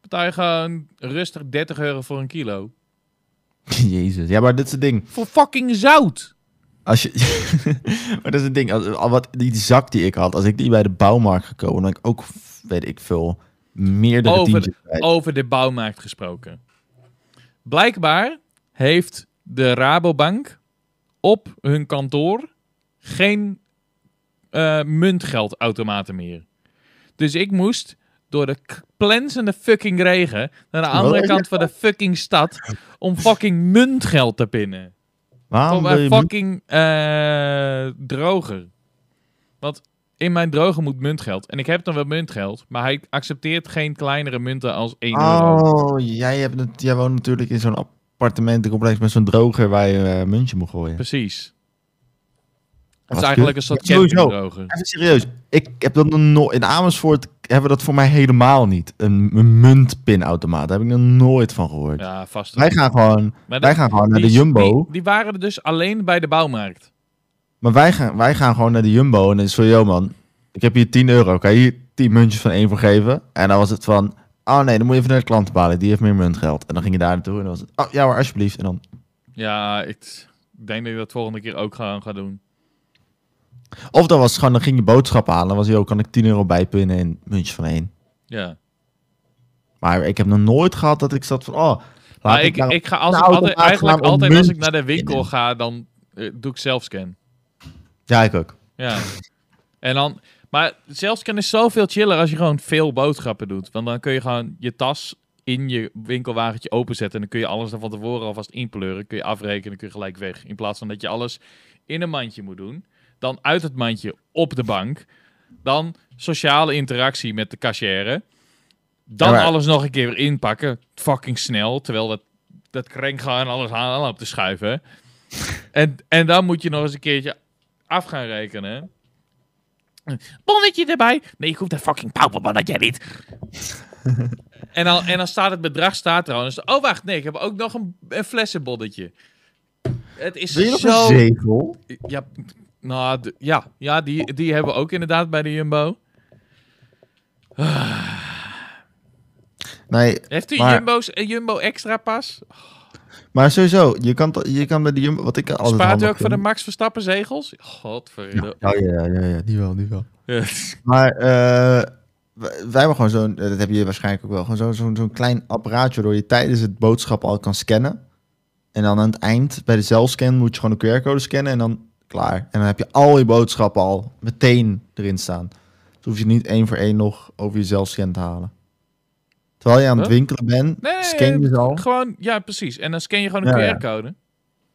Betaal je gewoon rustig 30 euro voor een kilo. Jezus. Ja, maar dit is het ding. Voor fucking zout! Als je... maar dat is het ding. Als, al wat, die zak die ik had, als ik die bij de bouwmarkt gekomen, dan had ik ook, weet ik veel, meerdere Over de- tientjes kwijt. Over de bouwmarkt gesproken. Blijkbaar heeft de Rabobank op hun kantoor geen eh, muntgeldautomaten meer. Dus ik moest door de k- plensende fucking regen naar de andere Wat? kant van de fucking stad om fucking muntgeld te pinnen. Waarom Voor wil je mijn fucking eh, droger. Want in mijn droger moet muntgeld. En ik heb dan wel muntgeld, maar hij accepteert geen kleinere munten als 1 euro. Oh, jij, hebt het, jij woont natuurlijk in zo'n appartementencomplex met zo'n droger waar je eh, muntje moet gooien. Precies. Wat Het is eigenlijk een soort Ja, sowieso. campingdroger. Even serieus, ik heb dat nog nooit. In Amersfoort hebben we dat voor mij helemaal niet. Een, een muntpinautomaat, daar heb ik nog nooit van gehoord. Ja, vast. Wij gaan gewoon, Maar wij dat- gaan gewoon naar de die- Jumbo. Die, die waren er dus alleen bij de bouwmarkt. Maar wij gaan, wij gaan gewoon naar de Jumbo en dan is het zo, yo man, ik heb hier 10 euro, kan je hier 10 muntjes van één voor geven? En dan was het van, oh nee, dan moet je even naar de klant balen, die heeft meer muntgeld. En dan ging je daar naartoe en dan was het, oh ja hoor, alsjeblieft. En dan, Ja, ik t- denk dat ik dat volgende keer ook gaan, ga doen. of dan was het gewoon, dan ging je boodschappen halen, dan was het, yo, kan ik 10 euro bijpinnen en muntjes van één. Ja. Maar ik heb nog nooit gehad dat ik zat van, oh, laat Maar ik, nou- ik ga als, nou, altijd, automaat eigenlijk gaan om altijd als ik muntjes naar de te winkel pinnen. ga, dan eh, doe ik zelfscan. Ja, ik ook. Ja. en dan, maar zelfscan is zoveel chiller als je gewoon veel boodschappen doet. Want dan kun je gewoon je tas in je winkelwagentje openzetten. En dan kun je alles er van tevoren alvast inpleuren. Kun je afrekenen, kun je gelijk weg. In plaats van dat je alles in een mandje moet doen. Dan uit het mandje op de bank. Dan sociale interactie met de cashier. Dan Ja, maar- alles nog een keer weer inpakken. Fucking snel. Terwijl dat, dat krenk gewoon alles aan op te schuiven. en, en dan moet je nog eens een keertje af gaan rekenen. Bonnetje erbij. Nee, ik hoef dat fucking pauperbonnetje niet. en, dan, en dan staat het bedrag staat er al. En dan is het, oh, wacht, nee, ik heb ook nog een, een flessenbonnetje. Het is Wil je nog zo... een zegel? Ja, nou, d- ja, ja die, die hebben we ook inderdaad bij de Jumbo. Nee, Heeft u Maar- Jumbo's, een Jumbo extra pas? maar sowieso, je kan, t- je kan bij de Jumbo, wat ik altijd Spaart u handig ook voor de vind- Max Verstappen zegels? Godverdomme. Oh ja, ja, ja, die wel, die wel. Ja. Maar eh, w- wij hebben gewoon zo'n, eh, dat heb je waarschijnlijk ook wel, gewoon zo'n zo'n zo'n klein apparaatje waardoor je tijdens het boodschap al kan scannen. En dan aan het eind, bij de zelfscan, moet je gewoon een QR-code scannen en dan klaar. En dan heb je al je boodschappen al meteen erin staan. Dus hoef je niet één voor één nog over je zelfscan te halen. Terwijl je aan het Huh? winkelen bent, Nee, scan je ze al. Gewoon, ja, precies. En dan scan je gewoon een Ja, ja. QR-code.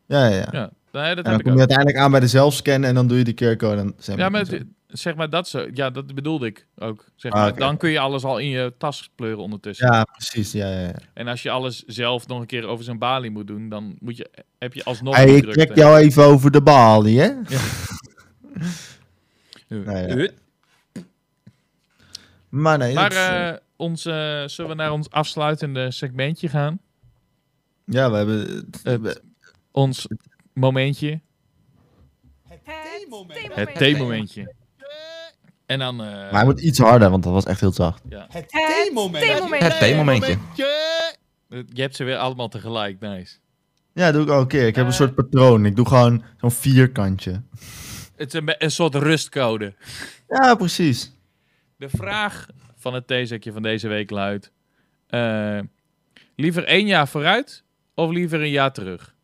Ja, ja, ja. Ja, nee, dat En dan heb ik kom je ook. uiteindelijk aan bij de zelfscan en dan doe je de QR-code. en zijn we Ja, maar er zo. het- zeg maar dat zo. Ja, dat bedoelde ik ook. Zeg Ah, maar, oké. Dan kun je alles al in je tas pleuren ondertussen. ja, precies. Ja, ja, ja. En als je alles zelf nog een keer over zijn balie moet doen, dan moet je, heb je alsnog Hey, die ik drukte. check jou even over de balie, hè? Nou ja. Huh? Maar nee, Maar dat is, eh, eh, ons, eh, zullen we naar ons afsluitende segmentje gaan? Ja, we hebben. Het eh, ons momentje. Het theemomentje. En dan... eh, maar hij moet iets harder, want dat was echt heel zacht. Het theemoment. Het theemomentje. je hebt ze weer allemaal tegelijk, nice. Ja, dat doe ik al een keer. Ik heb een Eh. soort patroon. Ik doe gewoon zo'n vierkantje. Het is een, be- een soort rustcode. Ja, precies. De vraag van het theezakje van deze week luidt... eh, Liever één jaar vooruit of liever een jaar terug?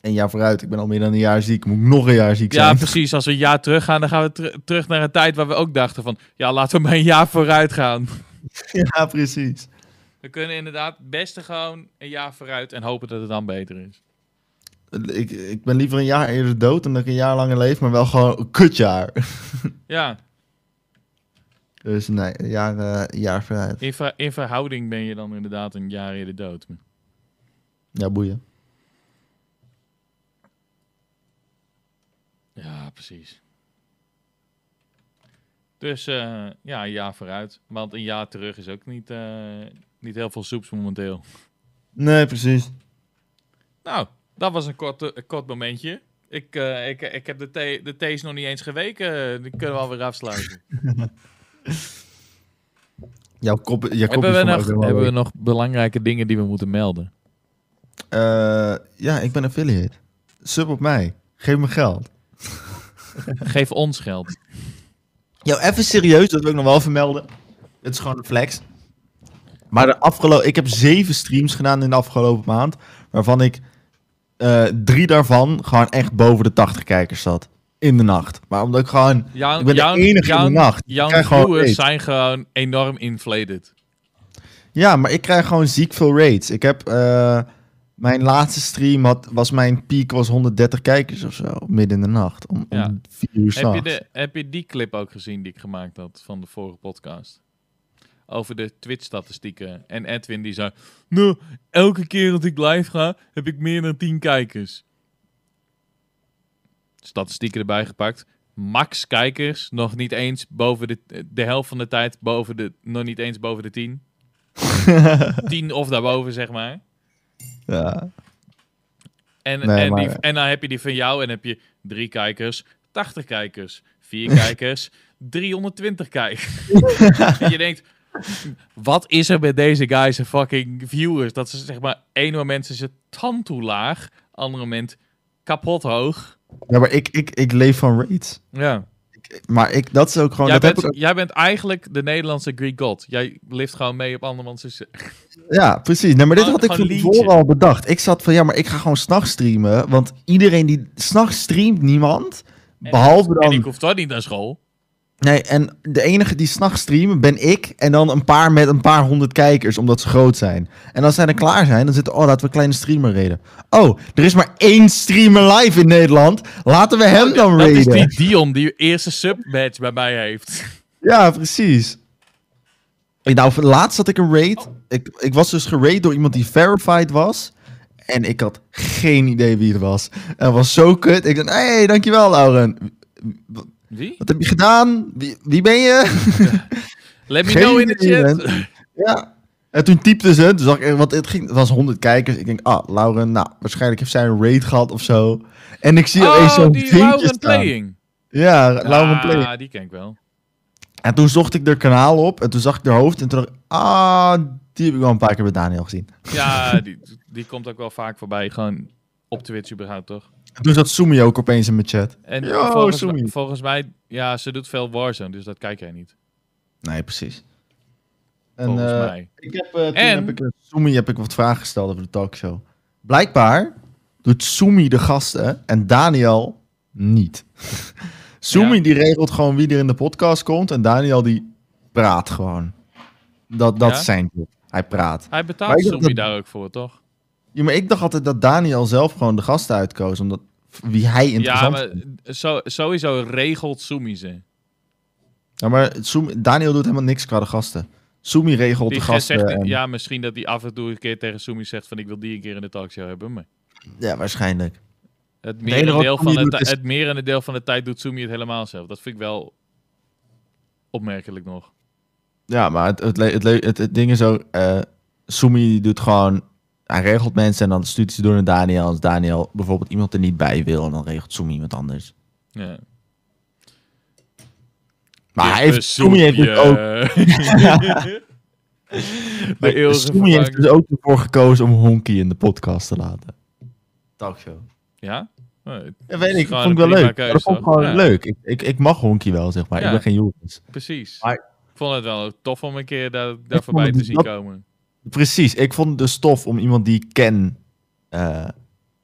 Een jaar vooruit, ik ben al meer dan een jaar ziek. Moet ik nog een jaar ziek Ja, zijn? precies. Als we een jaar terug gaan, dan gaan we ter- terug naar een tijd waar we ook dachten van... Ja, laten we maar een jaar vooruit gaan. ja, precies. We kunnen inderdaad het beste gewoon een jaar vooruit en hopen dat het dan beter is. Ik, ik ben liever een jaar eerder dood dan dat ik een jaar langer leef, maar wel gewoon een kutjaar. Ja, Dus nee, een jaar, eh, een jaar vooruit. in, ver- in verhouding ben je dan inderdaad een jaar eerder dood. Ja, boeien. Ja, precies. Dus eh, ja, een jaar vooruit. Want een jaar terug is ook niet, eh, niet heel veel soeps momenteel. Nee, precies. Nou, dat was een kort, een kort momentje. Ik, eh, ik, ik heb de, thee, de thee's nog niet eens geweken. Eh, Die kunnen we alweer afsluiten. Jouw kop, jouw kop hebben is van mij we, nog, ook helemaal hebben we leeg. nog belangrijke dingen die we moeten melden? Eh, ja, ik ben affiliate. Sub op mij. Geef me geld. Geef ons geld. Jou, even serieus, dat wil ik nog wel vermelden. Het is gewoon een flex. Maar de afgelopen, ik heb zeven streams gedaan in de afgelopen maand. Waarvan ik eh, drie daarvan gewoon echt boven de 80 kijkers zat. In de nacht. Maar omdat ik gewoon. Jan, Ik ben de enige in de nacht. Ik Jouw krijg gewoon viewers hate. zijn gewoon enorm inflated. Ja, maar ik krijg gewoon ziek veel raids. Ik heb. eh, mijn laatste stream had, was mijn piek was 130 kijkers of zo. Midden in de nacht. Om, Ja. om vier uur Heb je, s'nachts. de, heb je die clip ook gezien die ik gemaakt had van de vorige podcast? Over de Twitch-statistieken. En Edwin die zei... Nou, elke keer dat ik live ga, heb ik meer dan 10 kijkers. Statistieken erbij gepakt. Max kijkers, nog niet eens boven de... De helft van de tijd boven de... Nog niet eens boven de 10. 10 of daarboven, zeg maar. Ja. En, Nee, en, die, maar- eh, en dan heb je die van jou en heb je drie kijkers, 80 kijkers, vier kijkers, 320 kijkers. en je denkt, wat is er met deze guys en fucking viewers? Dat ze zeg maar, één moment is het tand toe laag, ander moment kapot hoog. ja, maar ik, ik, ik leef van raids. Ja. Ik- Maar ik, dat is ook gewoon. Jij, Oh, Dat heb ik bent, ook- jij bent eigenlijk de Nederlandse Greek God. Jij lift gewoon mee op andermans. succes. ja, precies. Nee, maar dit Gewoon- had ik van gewoon tevoren liedje. al bedacht. Ik zat van ja, maar ik ga gewoon s'nachts streamen. Want iedereen die. S'nachts streamt niemand. Behalve En ik dan. hoef toch niet naar school. Nee, en de enige die s'nachts streamen ben ik. En dan een paar met een paar honderd kijkers, omdat ze groot zijn. En als zij dan klaar zijn, dan zitten. Oh, laten we een kleine streamer raiden. Oh, er is maar één streamer live in Nederland. Laten we hem dan Dat is raiden. die Dion die eerste submatch bij mij heeft. Ja, precies. Ik, nou, voor- laatst had ik een raid. Ik, ik was dus geraid door iemand die verified was. En ik had geen idee wie het was. En het was zo kut. Ik dacht, hé, hey, dankjewel, Lauren. Wie? Wat heb je gedaan? Wie, wie ben je? Let me Geen know nou in de idee, chat. man. ja. En toen typte ze. Toen zag ik, want het, ging, het was 100 kijkers. Ik denk, ah, Lauren, nou, waarschijnlijk heeft zij een raid gehad of zo. En ik zie opeens zo'n Oh, die vinkje Lauren Ah. staan. Playing. Ja, Lauren Play. die ken ik wel. En toen zocht ik haar kanaal op. En toen zag ik haar hoofd. En toen dacht ik, ah, die heb ik al een paar keer bij Daniel gezien. Ja, die, die komt ook wel vaak voorbij. Gewoon op Twitch überhaupt, toch? En Toen zat Sumi ook opeens in mijn chat. En Yo, volgens, Sumi. volgens mij, ja, ze doet veel Warzone, dus dat kijk jij niet. Nee, precies. En, Volgens eh, mij. Ik heb, eh, toen En- heb ik eh, Sumi heb ik wat vragen gesteld over de talkshow. Blijkbaar doet Sumi de gasten en Daniel niet. Sumi Ja. die regelt gewoon wie er in de podcast komt en Daniel die praat gewoon. Dat, dat Ja? is zijn job. Hij praat. Hij Maar betaalt ik dacht Sumi dat- daar ook voor, toch? Ja, maar ik dacht altijd dat Daniel zelf gewoon de gasten uitkoos omdat wie hij Ja, interessant maar zo, sowieso regelt Sumi ze. Ja, maar Sumi, Daniel doet helemaal niks qua de gasten. Sumi regelt Die de gast gasten. eh, zegt, en- ja, misschien dat hij af en toe een keer tegen Sumi zegt van ik wil die een keer in de talkshow hebben, maar ja, waarschijnlijk. het enige wat merendeel van, Sumi de doet ti- is- het merendeel van de tijd doet Sumi het helemaal zelf. Dat vind ik wel opmerkelijk nog. Ja, maar het, het, le- het, le- het, het ding is ook... eh Sumi die doet gewoon... Hij regelt mensen en dan stuurt hij ze door naar Daniel. Als Daniel bijvoorbeeld iemand er niet bij wil... en dan regelt Sumi iemand anders. Ja. Maar Dit hij heeft, Sumi heeft dus ook... bezoekje. maar eh, De eeuwige Sumi heeft vervanging. dus ook ervoor gekozen om Honky in de podcast te laten. Talkshow. Ja? Eh, Ja, weet ik. Gewoon vond ik wel een prima leuk. keuze, dat vond ik gewoon ja. leuk. Ik, ik, ik mag Honky wel, zeg maar. Ja. Ik ben geen jongens. precies. Maar- Ik vond het wel tof om een keer daar, daar vond voorbij het te dus zien dat- komen. Precies, ik vond de stof om iemand die ik ken eh,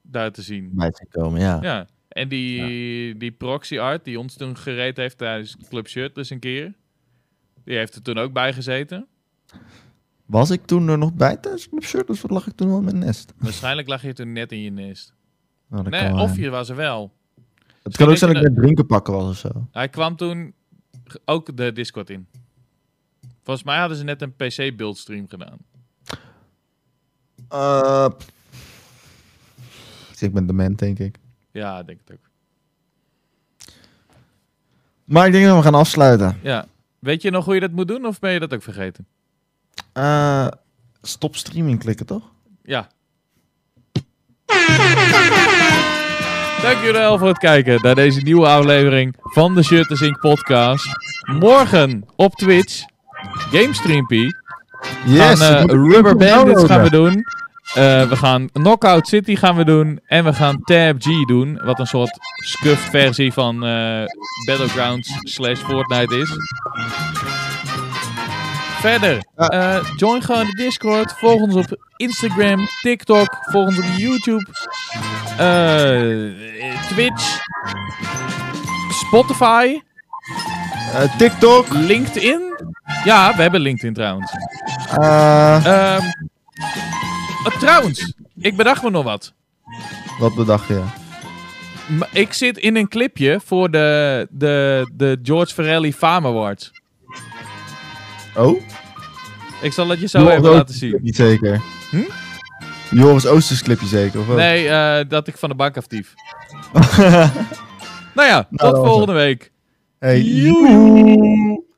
daar te zien. bij te komen, ja. Ja. En die, die proxy art die ons toen gereed heeft tijdens Club Shirt dus een keer. Die heeft er toen ook bij gezeten. Was ik toen er nog bij tijdens Club Shirtless? Wat lag ik toen al in mijn nest? Waarschijnlijk lag je toen net in je nest. Nou, dat Nee, kan wel, of ja. je was er wel. Het kan ook zijn dat dat ik met drinken pakken was of zo. Hij kwam toen g- ook de Discord in. Volgens mij hadden ze net een PC-buildstream gedaan. Eh, dus ik ben dement, denk ik. Ja, ik denk het ook. Maar ik denk dat we gaan afsluiten. Ja. Weet je nog hoe je dat moet doen of ben je dat ook vergeten? Eh, stop streaming klikken, toch? Ja. Dank jullie wel voor het kijken naar deze nieuwe aflevering van de Shirt Inc. podcast. Morgen op Twitch, GameStreampie, gaan eh, Rubber Bandits gaan we doen. Eh, we gaan Knockout City gaan we doen. En we gaan Tab G doen, wat een soort scuffed versie van eh, Battlegrounds slash Fortnite is. Verder, eh, join gewoon de Discord. Volg ons op Instagram, TikTok. Volg ons op YouTube. eh, Twitch. Spotify. Eh, TikTok. LinkedIn. Ja, we hebben LinkedIn trouwens. Eh, Ehm oh, trouwens, ik bedacht me nog wat. wat bedacht je? M- Ik zit in een clipje voor de, de, de George Ferrelli Fame Awards. Oh? Ik zal het je zo Joris even Oosters laten zien. Niet zeker. Hm? Joris Oosters clipje zeker, of wat? Nee, eh, dat ik van de bank Nou afdief. nou ja, Nou, dat was tot volgende week. Hey, Joejoe.